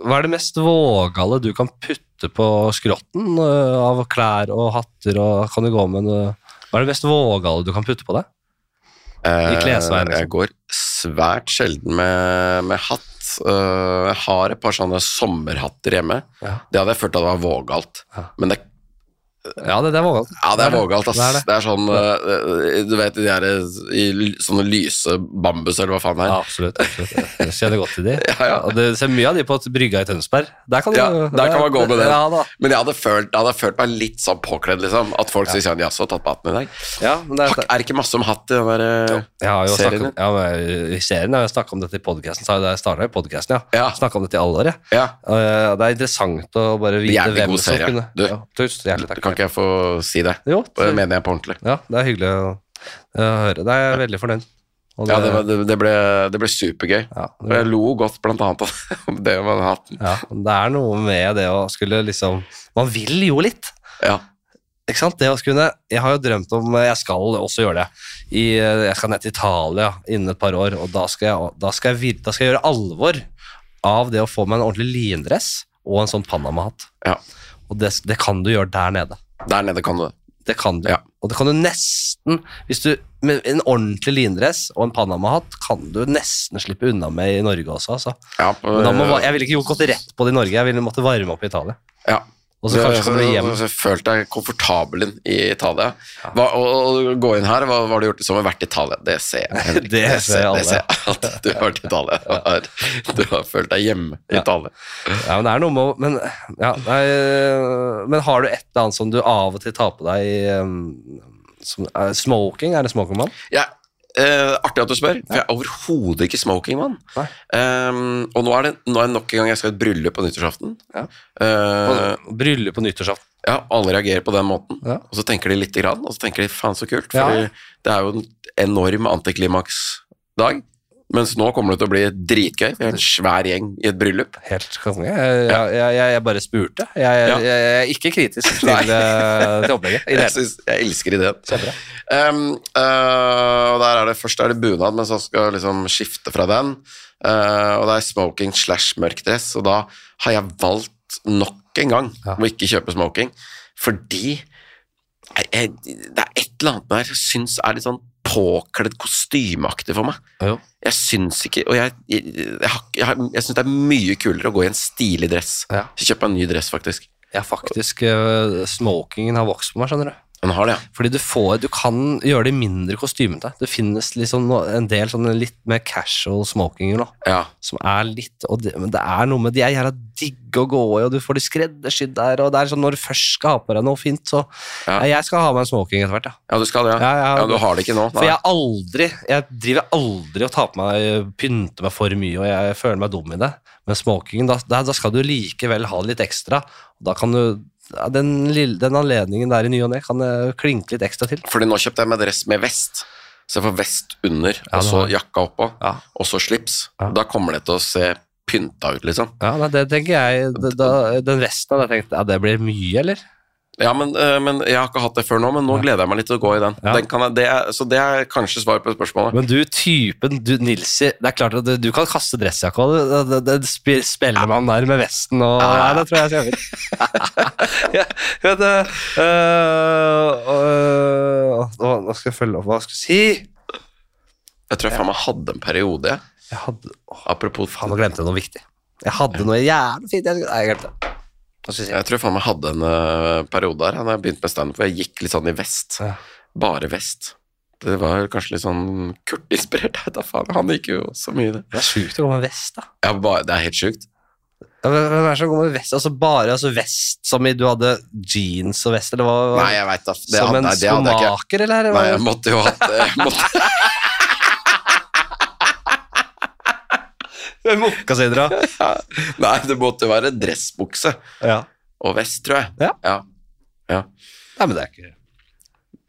Speaker 1: hva er det mest vågale du kan putte på skrotten eh, av klær og hatter og kan du gå med en, eh, Hva er det mest vågale du kan putte på deg?
Speaker 2: Eh,
Speaker 1: I klesveien, liksom.
Speaker 2: Jeg går svært sjelden med, med hatt. Eh, jeg har et par sånne sommerhatter hjemme.
Speaker 1: Ja.
Speaker 2: Det hadde jeg følt at var vågalt.
Speaker 1: Ja.
Speaker 2: Men det
Speaker 1: Ja, det, det er vågalt.
Speaker 2: Ja, det er vågalt, ass.
Speaker 1: Det er
Speaker 2: Det er,
Speaker 1: det.
Speaker 2: sånn eh, Du vet de der eh, i l- sånne lyse bambus, eller hva faen det er.
Speaker 1: Ja, absolutt. absolutt. Jeg kjenner godt til de.
Speaker 2: Ja, ja.
Speaker 1: Og det ser mye av de på brygga i Tønsberg. Der kan, du-
Speaker 2: Ja, der kan man gå med det.
Speaker 1: Ja, da.
Speaker 2: Men jeg hadde, følt, jeg hadde følt meg litt sånn påkledd, liksom. At folk sier sånn Jaså, tatt på hatten i dag?
Speaker 1: Ja, men det
Speaker 2: Fuck,
Speaker 1: er,
Speaker 2: er det ikke masse om hatt i den der eh,
Speaker 1: jeg har jo snakket om,
Speaker 2: serien?
Speaker 1: ja, men, i serien har jeg snakket om dette i podkasten. Jeg starta i podkasten, ja.
Speaker 2: Ja.
Speaker 1: Snakket om dette i alle år, jeg.
Speaker 2: Ja.
Speaker 1: Eh, Det er interessant å bare vite
Speaker 2: Jævlig
Speaker 1: hvem
Speaker 2: god
Speaker 1: som
Speaker 2: serie.
Speaker 1: kunne
Speaker 2: Du.
Speaker 1: ja, tusen hjertelig takk.
Speaker 2: Kan ikke jeg få si det?
Speaker 1: Jo,
Speaker 2: Det
Speaker 1: så-
Speaker 2: mener jeg på ordentlig.
Speaker 1: ja, det er hyggelig å, å høre. Det er jeg veldig fornøyd. Og
Speaker 2: Ja, det, var- det, det, ble, det ble supergøy.
Speaker 1: ja,
Speaker 2: Og
Speaker 1: det,
Speaker 2: jeg lo godt blant annet av det med hatten.
Speaker 1: ja, det er noe med det å skulle liksom Man vil jo litt.
Speaker 2: Ja.
Speaker 1: Ikke sant? Det å skulle, jeg har jo drømt om Jeg skal også gjøre det. I, eh, jeg skal ned til Italia innen et par år, og da skal jeg, da skal jeg, vir- da skal jeg gjøre alvor av det å få meg en ordentlig lindress og en sånn Panama-hatt.
Speaker 2: Ja.
Speaker 1: Og det, det kan du gjøre der nede.
Speaker 2: Der nede kan du det.
Speaker 1: Det kan du.
Speaker 2: Ja.
Speaker 1: Og det kan du nesten Hvis du med en ordentlig lindress og en Panama-hatt kan du nesten slippe unna med i Norge også, altså.
Speaker 2: Ja, på,
Speaker 1: Men da må, jeg ville ikke gjort gått rett på det i Norge, jeg ville måtte varme opp i Italia.
Speaker 2: ja.
Speaker 1: Og så kanskje komme hjem.
Speaker 2: Så Følte deg komfortabel inn i Italia. Hva, og, og gå inn her, hva, hva har du gjort i sommer? Vært i Italia. Det ser jeg. Henrik.
Speaker 1: Det ser alle.
Speaker 2: jeg at du har vært i Italia. Du har, du har følt deg hjemme i
Speaker 1: Ja.
Speaker 2: Italia.
Speaker 1: Ja, men det er noe med å Men, ja, nei, øh, men har du et eller annet som du av og til tar på deg øhm, som, er Smoking? Er det smoking man?
Speaker 2: Jeg, eh, artig at du spør, for jeg er overhodet ikke smoking, mann.
Speaker 1: Nei.
Speaker 2: Ehm, og nå er, det, nå er det nok en gang jeg skal i et bryllup på nyttårsaften.
Speaker 1: Ja.
Speaker 2: Eh,
Speaker 1: Bryllup på nyttårsaften.
Speaker 2: ja, alle reagerer på den måten.
Speaker 1: Ja.
Speaker 2: Og så tenker de lite grann, og så tenker de faen så kult, for
Speaker 1: Ja.
Speaker 2: det er jo en enorm antiklimaksdag. Mens nå kommer det til å bli dritgøy.
Speaker 1: Mm.
Speaker 2: Vi er en svær gjeng i et bryllup.
Speaker 1: Helt konge. Jeg, jeg, jeg, jeg bare spurte. Jeg,
Speaker 2: Ja.
Speaker 1: jeg, jeg er ikke kritisk til,
Speaker 2: Nei.
Speaker 1: øh, til opplegget. I det
Speaker 2: Jeg,
Speaker 1: hele tatt.
Speaker 2: synes, jeg elsker ideen.
Speaker 1: Kjempebra.
Speaker 2: Ehm, eh, og der er det, først er det bunad, men så skal jeg liksom skifte fra den. Eh, og det er smoking slash mørk dress, og da har jeg valgt nok en gang
Speaker 1: Ja.
Speaker 2: å ikke kjøpe smoking. Fordi jeg, jeg, det er et eller annet der jeg syns er litt sånn påkledd kostymeaktig for meg.
Speaker 1: Jo.
Speaker 2: Jeg syns ikke Og jeg, jeg, jeg, har- jeg, har- jeg syns det er mye kulere å gå i en stilig dress.
Speaker 1: Ja.
Speaker 2: Kjøpe en ny dress, faktisk.
Speaker 1: Ja, faktisk. øh, Smokingen har vokst på meg, skjønner du.
Speaker 2: Den har det, ja.
Speaker 1: Fordi du, får, du kan gjøre det mindre kostymete. Det finnes liksom no- en del sånne litt mer casual smokinger nå,
Speaker 2: ja.
Speaker 1: som er litt og det, Men det er noe med de er jævla digge å gå i, og du får de skreddersydd der, og det er sånn når du først skal ha på deg noe fint, så
Speaker 2: Ja.
Speaker 1: Nei, Jeg skal ha meg en smoking etter hvert, ja.
Speaker 2: Ja, du skal det, ja.
Speaker 1: Ja, ja.
Speaker 2: ja du har det ikke nå.
Speaker 1: For jeg er aldri Jeg driver aldri og tar på meg pynter meg for mye, og jeg føler meg dum i det. Men smokingen, da, da da skal du likevel ha det litt ekstra. Og da kan du ja, den, lille, den anledningen der i ny og ne kan eh, klinke litt ekstra til.
Speaker 2: Fordi nå kjøpte jeg meg dress med vest. Så jeg får vest under, og så
Speaker 1: det
Speaker 2: jakka oppå,
Speaker 1: Ja.
Speaker 2: og så slips.
Speaker 1: Ja.
Speaker 2: Da kommer det til å se pynta ut, liksom.
Speaker 1: Ja, nei, det tenker jeg det- da, Den resten hadde jeg tenkt ja, det blir mye, eller?
Speaker 2: Ja, men, eh, men Jeg har ikke hatt det før nå, men nå gleder jeg meg litt til å gå i den.
Speaker 1: Ja.
Speaker 2: den kan jeg, det er, så det er kanskje svaret på spørsmålet.
Speaker 1: Men du, typen du, Nilsi Det er klart at du, du kan kaste dressjakka. du. Det- det- det sp- Spiller man der med vesten og Nei, det tror jeg jeg skal gjøre. ja, vet du, øh, øh, Nå nå skal jeg følge opp hva jeg skulle si.
Speaker 2: Jeg tror jeg faen meg hadde en periode, jeg.
Speaker 1: Jeg hadde Å,
Speaker 2: apropos
Speaker 1: faen, nå glemte jeg noe viktig. Jeg hadde noe jævlig fint jeg skulle Nei, jeg glemte det. Hva skal jeg si?
Speaker 2: Jeg tror jeg faen meg hadde en eh, periode der da jeg begynte med standup, hvor jeg gikk litt sånn i vest.
Speaker 1: Ja.
Speaker 2: Bare vest. Det var kanskje litt sånn Kurt-inspirert. Jeg vet da faen, Han gikk jo så mye i det.
Speaker 1: Det er sjukt å gå med vest, da.
Speaker 2: Ja, bare, det er helt sjukt.
Speaker 1: Ja, men Hvem er det som går med vest? Altså bare altså vest som i du hadde jeans og vest, eller hva? hva-
Speaker 2: Nei, jeg veit da. Det,
Speaker 1: som
Speaker 2: hadde-
Speaker 1: en
Speaker 2: nei, det hadde jeg ikke.
Speaker 1: skomaker, eller?
Speaker 2: Nei, jeg måtte jo hatt jeg måtte,
Speaker 1: Mokkasidra.
Speaker 2: Nei, det måtte jo være dressbukse
Speaker 1: Ja.
Speaker 2: og vest, tror jeg.
Speaker 1: Ja.
Speaker 2: ja.
Speaker 1: Nei, men det er ikke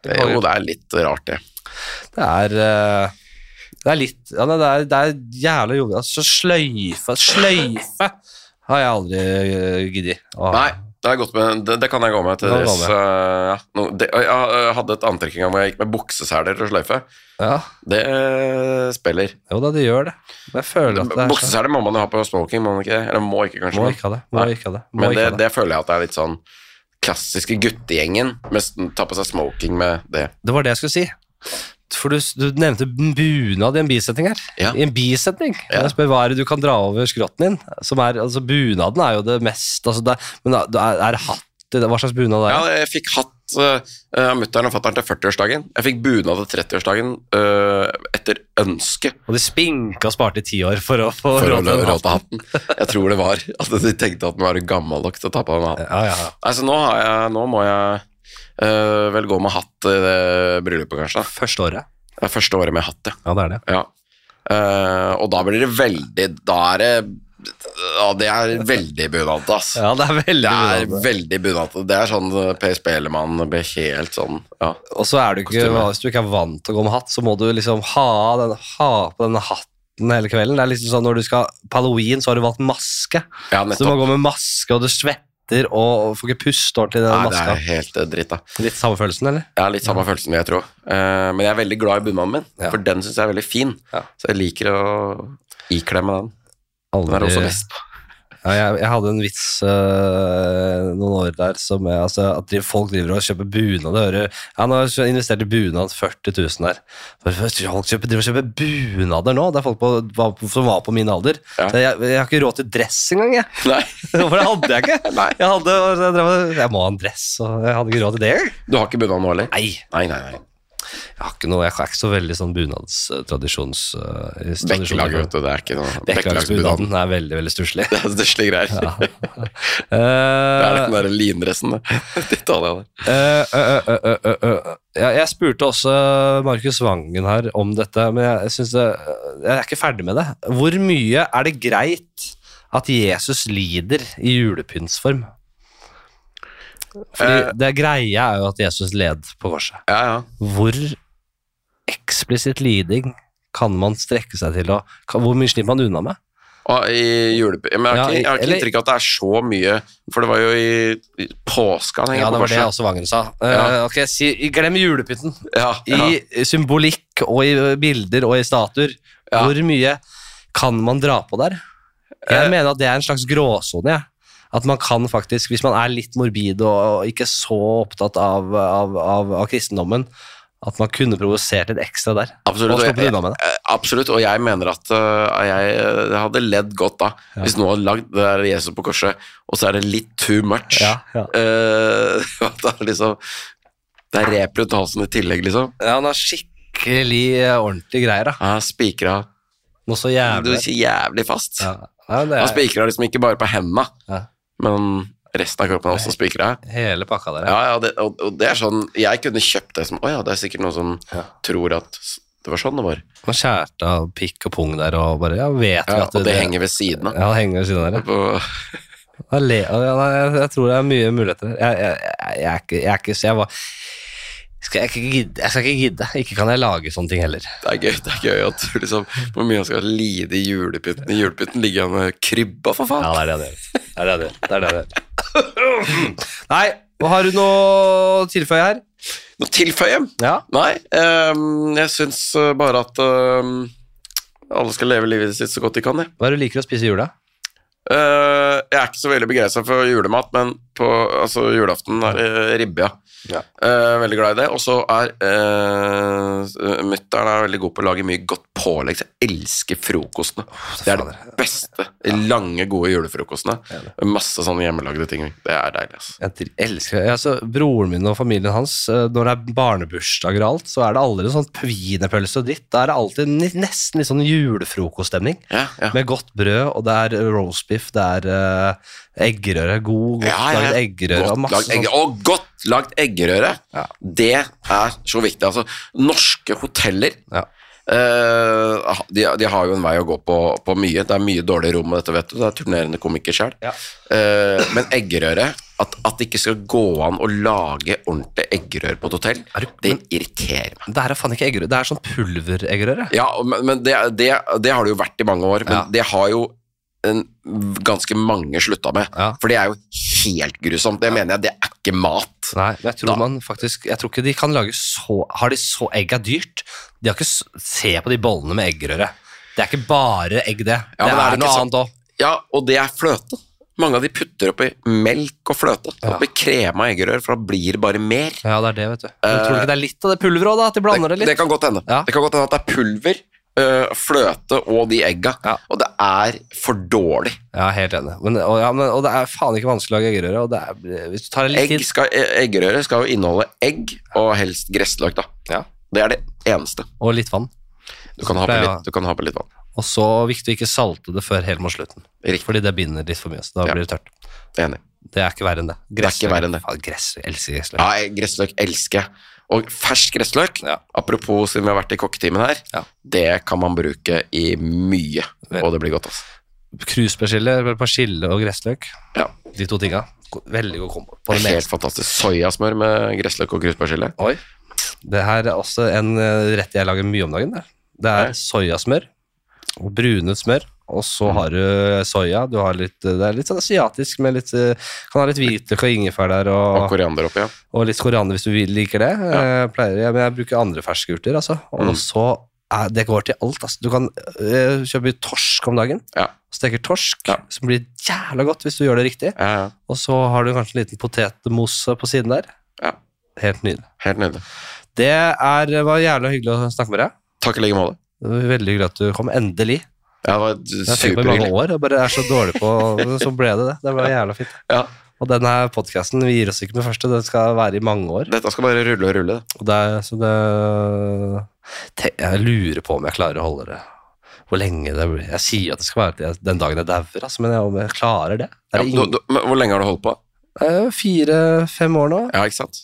Speaker 2: Det, jo, det er litt rart, det.
Speaker 1: Det er eh, Det er litt ja, nei, det, er, det er jævla jobbig. Altså, sløyfe Sløyfe har jeg aldri eh, giddet. å ha.
Speaker 2: Nei, det er godt med Det, det kan jeg gå med til
Speaker 1: Det kan
Speaker 2: dress.
Speaker 1: du gå
Speaker 2: øh, Ja. No, det, og jeg øh, hadde et antrekk en gang hvor jeg gikk med bukseseler og sløyfe.
Speaker 1: Ja.
Speaker 2: Det øh, spiller.
Speaker 1: Jo da, det gjør det. Men jeg føler at det er sånn.
Speaker 2: Bukseseler må man jo ha på smoking, må man ikke? Eller må ikke, kanskje.
Speaker 1: Må
Speaker 2: men-
Speaker 1: ikke ha det. Må
Speaker 2: Nei.
Speaker 1: ikke ha det. Må
Speaker 2: Men
Speaker 1: ikke
Speaker 2: det,
Speaker 1: ha det.
Speaker 2: det føler jeg at det er litt sånn klassiske guttegjengen. Med ta på seg smoking med det.
Speaker 1: det var det jeg skulle si. For du, du nevnte bunad i en bisetning her.
Speaker 2: Ja.
Speaker 1: I en bisetning.
Speaker 2: Ja.
Speaker 1: Jeg spør hva er det du kan dra over skrotten din? Som er, altså Bunaden er jo det mest altså det, Men da- da er, er det hatt i det? Hva slags bunad er det?
Speaker 2: Ja, jeg fikk hatt øh, av mutter'n og fatter'n til 40-årsdagen. Jeg fikk bunad til 30-årsdagen øh, etter ønske
Speaker 1: Og de spinka og sparte i ti år for å få
Speaker 2: for å
Speaker 1: råd til en hatt.
Speaker 2: råde hatten. Jeg tror det var at de tenkte at den var gammel nok til å ta på den hatten.
Speaker 1: Ja, ja, ja.
Speaker 2: Nei, så nå, har jeg, nå må jeg øh, vel gå med hatt i det bryllupet, kanskje. da.
Speaker 1: Første året.
Speaker 2: Det er første året med hatt, ja.
Speaker 1: Ja, det er det.
Speaker 2: ja. Eh, og da blir det veldig Da er det ja, det er veldig bunadete, ass.
Speaker 1: Ja, det er veldig
Speaker 2: Det er
Speaker 1: bunad.
Speaker 2: veldig bunadete. Det er sånn eh, Per Spelemann blir helt sånn Ja.
Speaker 1: Og så er du ikke,
Speaker 2: Kostyme.
Speaker 1: hvis du ikke er vant til å gå med hatt, så må du liksom ha, den, ha på denne hatten hele kvelden. Det er liksom sånn når du skal på halloween, så har du valgt maske.
Speaker 2: ja
Speaker 1: Så du
Speaker 2: nettopp.
Speaker 1: må gå med maske, og du svetter, og får ikke puste ordentlig i den
Speaker 2: Nei, det
Speaker 1: maska.
Speaker 2: er helt eh, dritt, da.
Speaker 1: Litt samme følelsen, eller?
Speaker 2: Jeg har litt samme følelsen, jeg tror. Eh, men jeg er veldig glad i bunaden min,
Speaker 1: Ja.
Speaker 2: for den syns jeg er veldig fin.
Speaker 1: Ja.
Speaker 2: Så jeg liker å ikle meg den. Den er også vest.
Speaker 1: Ja, jeg, jeg hadde en vits øh, noen år der som jeg, altså, at de, folk driver og kjøper bunad. Jeg hører Han har jeg investert i bunad 40 000 der. Folk kjøper, driver og kjøper bunader nå. Det er folk på, var på- som var på min alder.
Speaker 2: Ja.
Speaker 1: Så jeg, jeg har ikke råd til dress engang, jeg.
Speaker 2: Nei,
Speaker 1: For det hadde jeg ikke.
Speaker 2: Nei.
Speaker 1: Jeg, hadde, og jeg, drev, og- jeg må ha en dress, og jeg hadde ikke råd til det engang.
Speaker 2: du har ikke bunad nå heller?
Speaker 1: Nei,
Speaker 2: Nei, nei, nei.
Speaker 1: jeg har ikke noe, jeg er ikke så veldig sånn bunadstradisjons... Øh,
Speaker 2: Bekkelaget, vet du. Det er ikke noe Bekkelagsbunaden.
Speaker 1: Bekkelagsbunaden er veldig, veldig stusslig. Eh,
Speaker 2: Det er stusslige greier. Det er den
Speaker 1: Eh,
Speaker 2: der lindressen det. til Italia der.
Speaker 1: eh, eh, eh, eh, eh, eh. Ja, Jeg spurte også Markus Vangen her om dette, men jeg, jeg, synes det, eh, jeg er ikke ferdig med det. Hvor mye er det greit at Jesus lider i julepyntsform? Fordi
Speaker 2: Eh.
Speaker 1: det greia er jo at Jesus led på korset.
Speaker 2: Ja, ja.
Speaker 1: Hvor eksplisitt liding kan man strekke seg til? Og, kan, hvor mye slipper man unna med?
Speaker 2: Og i julepy... Men jeg har
Speaker 1: Ja,
Speaker 2: ikke, jeg har ikke
Speaker 1: eller-
Speaker 2: inntrykk av at det er så mye, for det var jo i, i påska han henger
Speaker 1: Ja, det
Speaker 2: på
Speaker 1: var det
Speaker 2: korset.
Speaker 1: også Vangen sa. Eh,
Speaker 2: Ja.
Speaker 1: ok, si, glem julepynten.
Speaker 2: Ja, ja.
Speaker 1: I symbolikk og i bilder og i statuer.
Speaker 2: Ja.
Speaker 1: Hvor mye kan man dra på der? Jeg
Speaker 2: Eh.
Speaker 1: mener at det er en slags gråsone. jeg. At man kan faktisk, hvis man er litt morbid og, og ikke så opptatt av, av, av, av kristendommen, at man kunne provosert litt ekstra der.
Speaker 2: Absolutt,
Speaker 1: Og
Speaker 2: og
Speaker 1: sluppet
Speaker 2: jeg,
Speaker 1: unna med det.
Speaker 2: eh, absolutt, og jeg mener at eh, jeg eh, hadde ledd godt da, hvis noen hadde lagd det der Jesus på korset, og så er det litt too much.
Speaker 1: Ja, ja.
Speaker 2: Eh, at det er liksom Det er rep rundt halsen i tillegg, liksom.
Speaker 1: ja, han har skikkelig eh, ordentlige greier, da.
Speaker 2: Han spikra
Speaker 1: Noe så
Speaker 2: Du
Speaker 1: jævlig.
Speaker 2: er jævlig fast.
Speaker 1: Ja. Nei, det
Speaker 2: Han
Speaker 1: er
Speaker 2: spikra liksom ikke bare på henda,
Speaker 1: Ja.
Speaker 2: men resten av kroppen er også spikra.
Speaker 1: hele pakka der.
Speaker 2: Ja, ja, det, og, og det er sånn Jeg kunne kjøpt det som Å ja, det er sikkert noen som
Speaker 1: Ja.
Speaker 2: tror at s- det var sånn det var.
Speaker 1: Man skjærte av pikk og pung der og bare Ja, vet vi
Speaker 2: Ja,
Speaker 1: at
Speaker 2: og det henger ved siden av.
Speaker 1: Ja, det henger ved siden av der. ja.
Speaker 2: På-
Speaker 1: Jeg, le, ja, nei, jeg, jeg tror det er mye muligheter. Jeg, jeg, jeg, jeg, er ikke- jeg er ikke så jeg var skal jeg, ikke gidde, jeg skal ikke gidde. Ikke kan jeg lage sånne ting heller.
Speaker 2: Det er gøy det er gøy at du liksom Hvor mye han skal lide i julepytten. I julepytten ligger han med krybba, for faen.
Speaker 1: det er det han gjør. Det er det han gjør. Nei, og har du noe å tilføye her?
Speaker 2: Noe tilføye?
Speaker 1: Ja.
Speaker 2: Nei, ehm, jeg syns eh, bare at ehm, alle skal leve livet sitt så godt de kan, jeg.
Speaker 1: Hva er det du liker å spise i jula?
Speaker 2: Eh, jeg er ikke så veldig begeistra for julemat, men på altså, julaften er det ribbe, ja.
Speaker 1: Ja.
Speaker 2: Eh, veldig glad i det. Og så er uh, mutter'n er veldig god på å lage mye godt pålegg. så Jeg elsker frokostene. Det er det beste. De lange, gode julefrokostene. Masse sånne hjemmelagde ting. Det er deilig. ass.
Speaker 1: Jeg til- elsker det. Altså, broren min og familien hans, eh, når det er barnebursdager og alt, så er det aldri noe sånn wienerpølse og dritt. Da er det alltid ni- nesten litt sånn julefrokoststemning.
Speaker 2: Ja, ja.
Speaker 1: Med godt brød, og det er roastbiff, det er eh, eggerøre, god, godt
Speaker 2: Ja, ja.
Speaker 1: lagd eggerøre og
Speaker 2: Godt
Speaker 1: masse sånn-
Speaker 2: lagd egg- Og godt lagd eggerøre!
Speaker 1: Ja.
Speaker 2: Det er så viktig. Altså, norske hoteller
Speaker 1: Ja.
Speaker 2: eh, de, de har jo en vei å gå på, på mye. Det er mye dårlig rom med dette, vet du. Det er turnerende komiker sjøl.
Speaker 1: Ja.
Speaker 2: men eggerøre at, at det ikke skal gå an å lage ordentlig eggerøre på et hotell,
Speaker 1: Er du-
Speaker 2: det irriterer meg.
Speaker 1: sånt. Det her er faen ikke eggerøre, det er sånn pulvereggerøre.
Speaker 2: Ja, og- men, men det, det, det har det jo vært i mange år, men
Speaker 1: Ja.
Speaker 2: det har jo en, ganske mange slutta med.
Speaker 1: Ja.
Speaker 2: For det er jo helt grusomt. Det mener jeg, det er ikke mat.
Speaker 1: Nei, men jeg tror
Speaker 2: Da-
Speaker 1: man faktisk Jeg tror ikke de kan lage så Har de så egg er dyrt? De har ikke s- Se på de bollene med eggerøre. Det er ikke bare egg, det.
Speaker 2: Ja,
Speaker 1: det er,
Speaker 2: men
Speaker 1: sånn-
Speaker 2: er det
Speaker 1: noe
Speaker 2: ikke
Speaker 1: annet òg.
Speaker 2: Ja, og det er fløte. Mange av de putter oppi melk og fløte.
Speaker 1: Ja.
Speaker 2: Oppi krem og eggerør, for da blir det bare mer.
Speaker 1: Ja, det er det, vet du. Men tror du ikke det er litt av det pulveret òg, da? At de blander det,
Speaker 2: Eh, Det
Speaker 1: litt?
Speaker 2: kan godt hende.
Speaker 1: Ja.
Speaker 2: Det kan godt hende at det er pulver, øh, fløte og de egga.
Speaker 1: Ja.
Speaker 2: Og det er for dårlig.
Speaker 1: Ja, helt enig. Men, og, ja, men, og det er faen ikke vanskelig å lage eggerøre. Og det er, hvis du tar det litt
Speaker 2: Egg
Speaker 1: tid
Speaker 2: skal, e- eggerøre skal jo inneholde egg og helst gressløk, da.
Speaker 1: Ja.
Speaker 2: Det er det eneste.
Speaker 1: og litt vann
Speaker 2: Du kan ha på
Speaker 1: Pleier å-
Speaker 2: litt, du kan ha på litt vann.
Speaker 1: Og så viktig å ikke salte det før helt mot slutten.
Speaker 2: Riktig.
Speaker 1: Fordi det binder litt for mye, så da
Speaker 2: Ja.
Speaker 1: blir det tørt.
Speaker 2: Enig.
Speaker 1: Det er ikke verre enn det.
Speaker 2: er ikke verre enn det.
Speaker 1: Faen, gressløk. Jeg elsker gressløk.
Speaker 2: Ja, jeg- gressløk elsker jeg. Og fersk gressløk,
Speaker 1: Ja.
Speaker 2: apropos siden vi har vært i kokketimen her,
Speaker 1: Ja.
Speaker 2: det kan man bruke i mye,
Speaker 1: Vel.
Speaker 2: og det blir godt, altså.
Speaker 1: Kruspersille, persille og gressløk.
Speaker 2: Ja.
Speaker 1: De to tinga. Go- Veldig god kombo. På det
Speaker 2: Det er
Speaker 1: meste.
Speaker 2: helt fantastisk. Soyasmør med gressløk og kruspersille.
Speaker 1: Oi. Det her er også en eh, rett jeg lager mye om dagen. Det, det
Speaker 2: Oi.
Speaker 1: er soyasmør og brunet smør. Og så har du soya. Du har litt, eh, det er litt sånn asiatisk med litt eh, Kan ha litt hvitløk og ingefær der.
Speaker 2: Og
Speaker 1: Og,
Speaker 2: koriander oppi,
Speaker 1: Eh,
Speaker 2: ja. Mm.
Speaker 1: og litt koriander hvis du vil- liker det. Jeg pleier, jeg, men jeg bruker andre ferske urter, altså. Og så eh, det går til alt. Altså. Du kan eh, kjøpe torsk om dagen.
Speaker 2: Ja.
Speaker 1: Steker torsk,
Speaker 2: Ja.
Speaker 1: som blir jævla godt hvis du gjør det riktig.
Speaker 2: Ja, ja.
Speaker 1: Og så har du kanskje en liten potetmousse på siden der.
Speaker 2: Ja.
Speaker 1: Helt nydelig.
Speaker 2: Helt nydelig.
Speaker 1: Det er, var jævla hyggelig å snakke med deg.
Speaker 2: Takk i like måte.
Speaker 1: Det var Veldig hyggelig at du kom. Endelig.
Speaker 2: Ja, det var
Speaker 1: Jeg har tenkt på i mange
Speaker 2: superhyggelig.
Speaker 1: år, jeg bare er så dårlig på men Så ble det det. Det var jævla fint.
Speaker 2: Ja.
Speaker 1: Og denne podkasten gir oss ikke med første, den skal være i mange år.
Speaker 2: Dette skal bare rulle og rulle. det.
Speaker 1: Og det er, så det te- Jeg lurer på om jeg klarer å holde det. Hvor lenge det blir Jeg sier at det skal være til jeg- den dagen jeg dauer, altså, men jeg, om jeg klarer det? Er
Speaker 2: Ja,
Speaker 1: det
Speaker 2: du,
Speaker 1: ingen,
Speaker 2: du, men hvor lenge har du holdt på?
Speaker 1: Fire-fem år nå.
Speaker 2: Ja, ikke sant?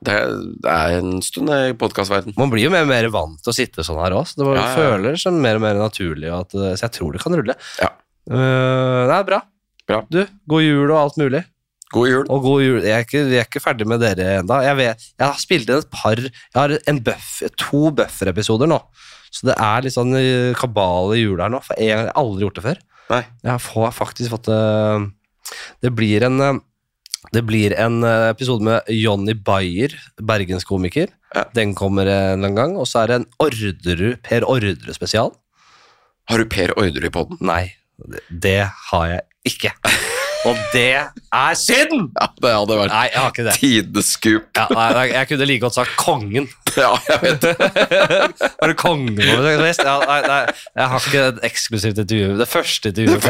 Speaker 2: Det er, det er en stund i podkastverden.
Speaker 1: Man blir jo mer og mer vant til å sitte sånn her også. Det var,
Speaker 2: Ja, ja.
Speaker 1: føler som mer og mer naturlig, og at, eh, så jeg tror det kan rulle.
Speaker 2: Ja.
Speaker 1: Eh, det er bra.
Speaker 2: Bra.
Speaker 1: Du, god jul og alt mulig.
Speaker 2: God jul.
Speaker 1: Og god jul. Jeg er ikke, jeg er ikke ferdig med dere enda. Jeg, vet, jeg har spilt inn et par Jeg har en buff, to buffer-episoder nå. Så det er litt sånn eh, kabal i jula her nå. For jeg, jeg har aldri gjort det før.
Speaker 2: Nei.
Speaker 1: Jeg har få- faktisk fått eh, Det blir en eh, det blir en eh, episode med Jonny Bayer, bergenskomiker.
Speaker 2: Ja.
Speaker 1: Den kommer en eller annen gang. Og så er det en Orderud, Per Orderud-spesial.
Speaker 2: Har du Per Orderud i poden?
Speaker 1: Nei, det, det har jeg ikke. Og det er synd!
Speaker 2: Ja, det hadde vært
Speaker 1: Nei, jeg har ikke det.
Speaker 2: tidenes scoop.
Speaker 1: Ja, nei, nei, jeg kunne like godt sagt kongen.
Speaker 2: Ja, jeg vet det.
Speaker 1: Var det kongen på besøk? Visst, Ja, nei, nei, jeg har ikke et eksklusivt intervju. Det første intervjuet med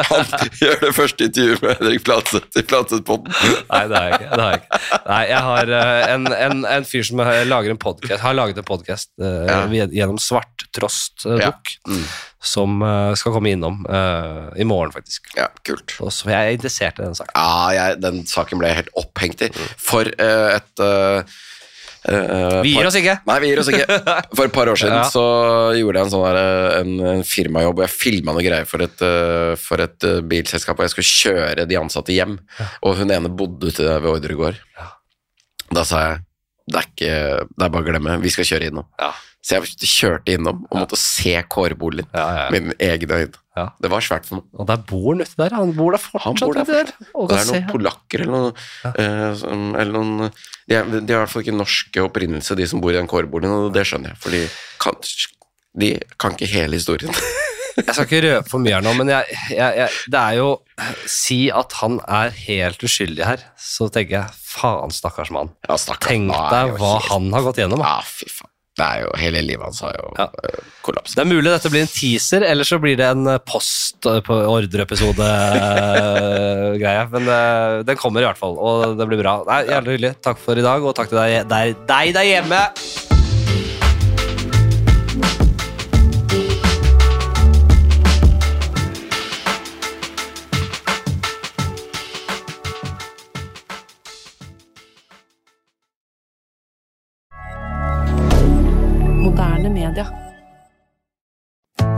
Speaker 1: Per Ordre.
Speaker 2: Første intervju- Han gjør det første intervjuet med Henrik Platseth i Platseth-podden.
Speaker 1: Nei, det har jeg ikke. Det har jeg, ikke. Nei, jeg har eh, en, en, en fyr som har- lager en podcast, har laget en podkast
Speaker 2: Ja.
Speaker 1: gjennom
Speaker 2: Ja.
Speaker 1: Svarttrost-dukk,
Speaker 2: Mm.
Speaker 1: som eh, skal komme innom eh, i morgen, faktisk.
Speaker 2: Ja, kult.
Speaker 1: Og så jeg er interessert i den saken.
Speaker 2: Ja, Ah, jeg, den saken ble jeg helt opphengt i. For eh, et eh, eh,
Speaker 1: Vi
Speaker 2: par-
Speaker 1: gir oss ikke!
Speaker 2: Nei, vi gir oss ikke. For et par år siden
Speaker 1: Ja.
Speaker 2: så gjorde jeg en sånn der, eh, en, en firmajobb, og jeg filma noe greier for et, eh, for et eh, bilselskap, og jeg skulle kjøre de ansatte hjem. Og hun ene bodde ute ved Ordregård.
Speaker 1: Ja.
Speaker 2: Da sa jeg det er, ikke, det er bare å glemme, vi skal kjøre innom.
Speaker 1: Ja.
Speaker 2: Så jeg kjørte innom og måtte se kårboligen
Speaker 1: Ja, ja, ja.
Speaker 2: med mine egne øyne.
Speaker 1: Ja.
Speaker 2: Det var svært for meg.
Speaker 1: Og der bor han uti der. Han bor der fortsatt.
Speaker 2: Han bor der
Speaker 1: vet du. Og
Speaker 2: Det
Speaker 1: kan
Speaker 2: er
Speaker 1: se
Speaker 2: noen
Speaker 1: han.
Speaker 2: polakker eller noen, eh, som- eller noen de, er, de er i hvert fall ikke norske opprinnelse, de som bor i den kårboligen, og det skjønner jeg. For de kan, de kan ikke hele historien.
Speaker 1: Jeg skal ikke røpe for mye her nå, men jeg, jeg, jeg, det er jo Si at han er helt uskyldig her, så tenker jeg faen, stakkars mann.
Speaker 2: Ja, stakkar.
Speaker 1: Tenk
Speaker 2: Nå er
Speaker 1: deg
Speaker 2: jeg jo
Speaker 1: hva
Speaker 2: helt-
Speaker 1: han har gått gjennom. da.
Speaker 2: Ja, fy faen. Det er jo hele livet hans har jo
Speaker 1: Ja.
Speaker 2: eh, kollapset.
Speaker 1: Det er mulig dette blir en teaser, eller så blir det en eh, post eh, på ordreepisode-greie. Men eh, den kommer i hvert fall, og det blir bra. Nei, Jævlig hyggelig. Takk for i dag, og takk til deg deg, deg der hjemme.
Speaker 3: Moderne media.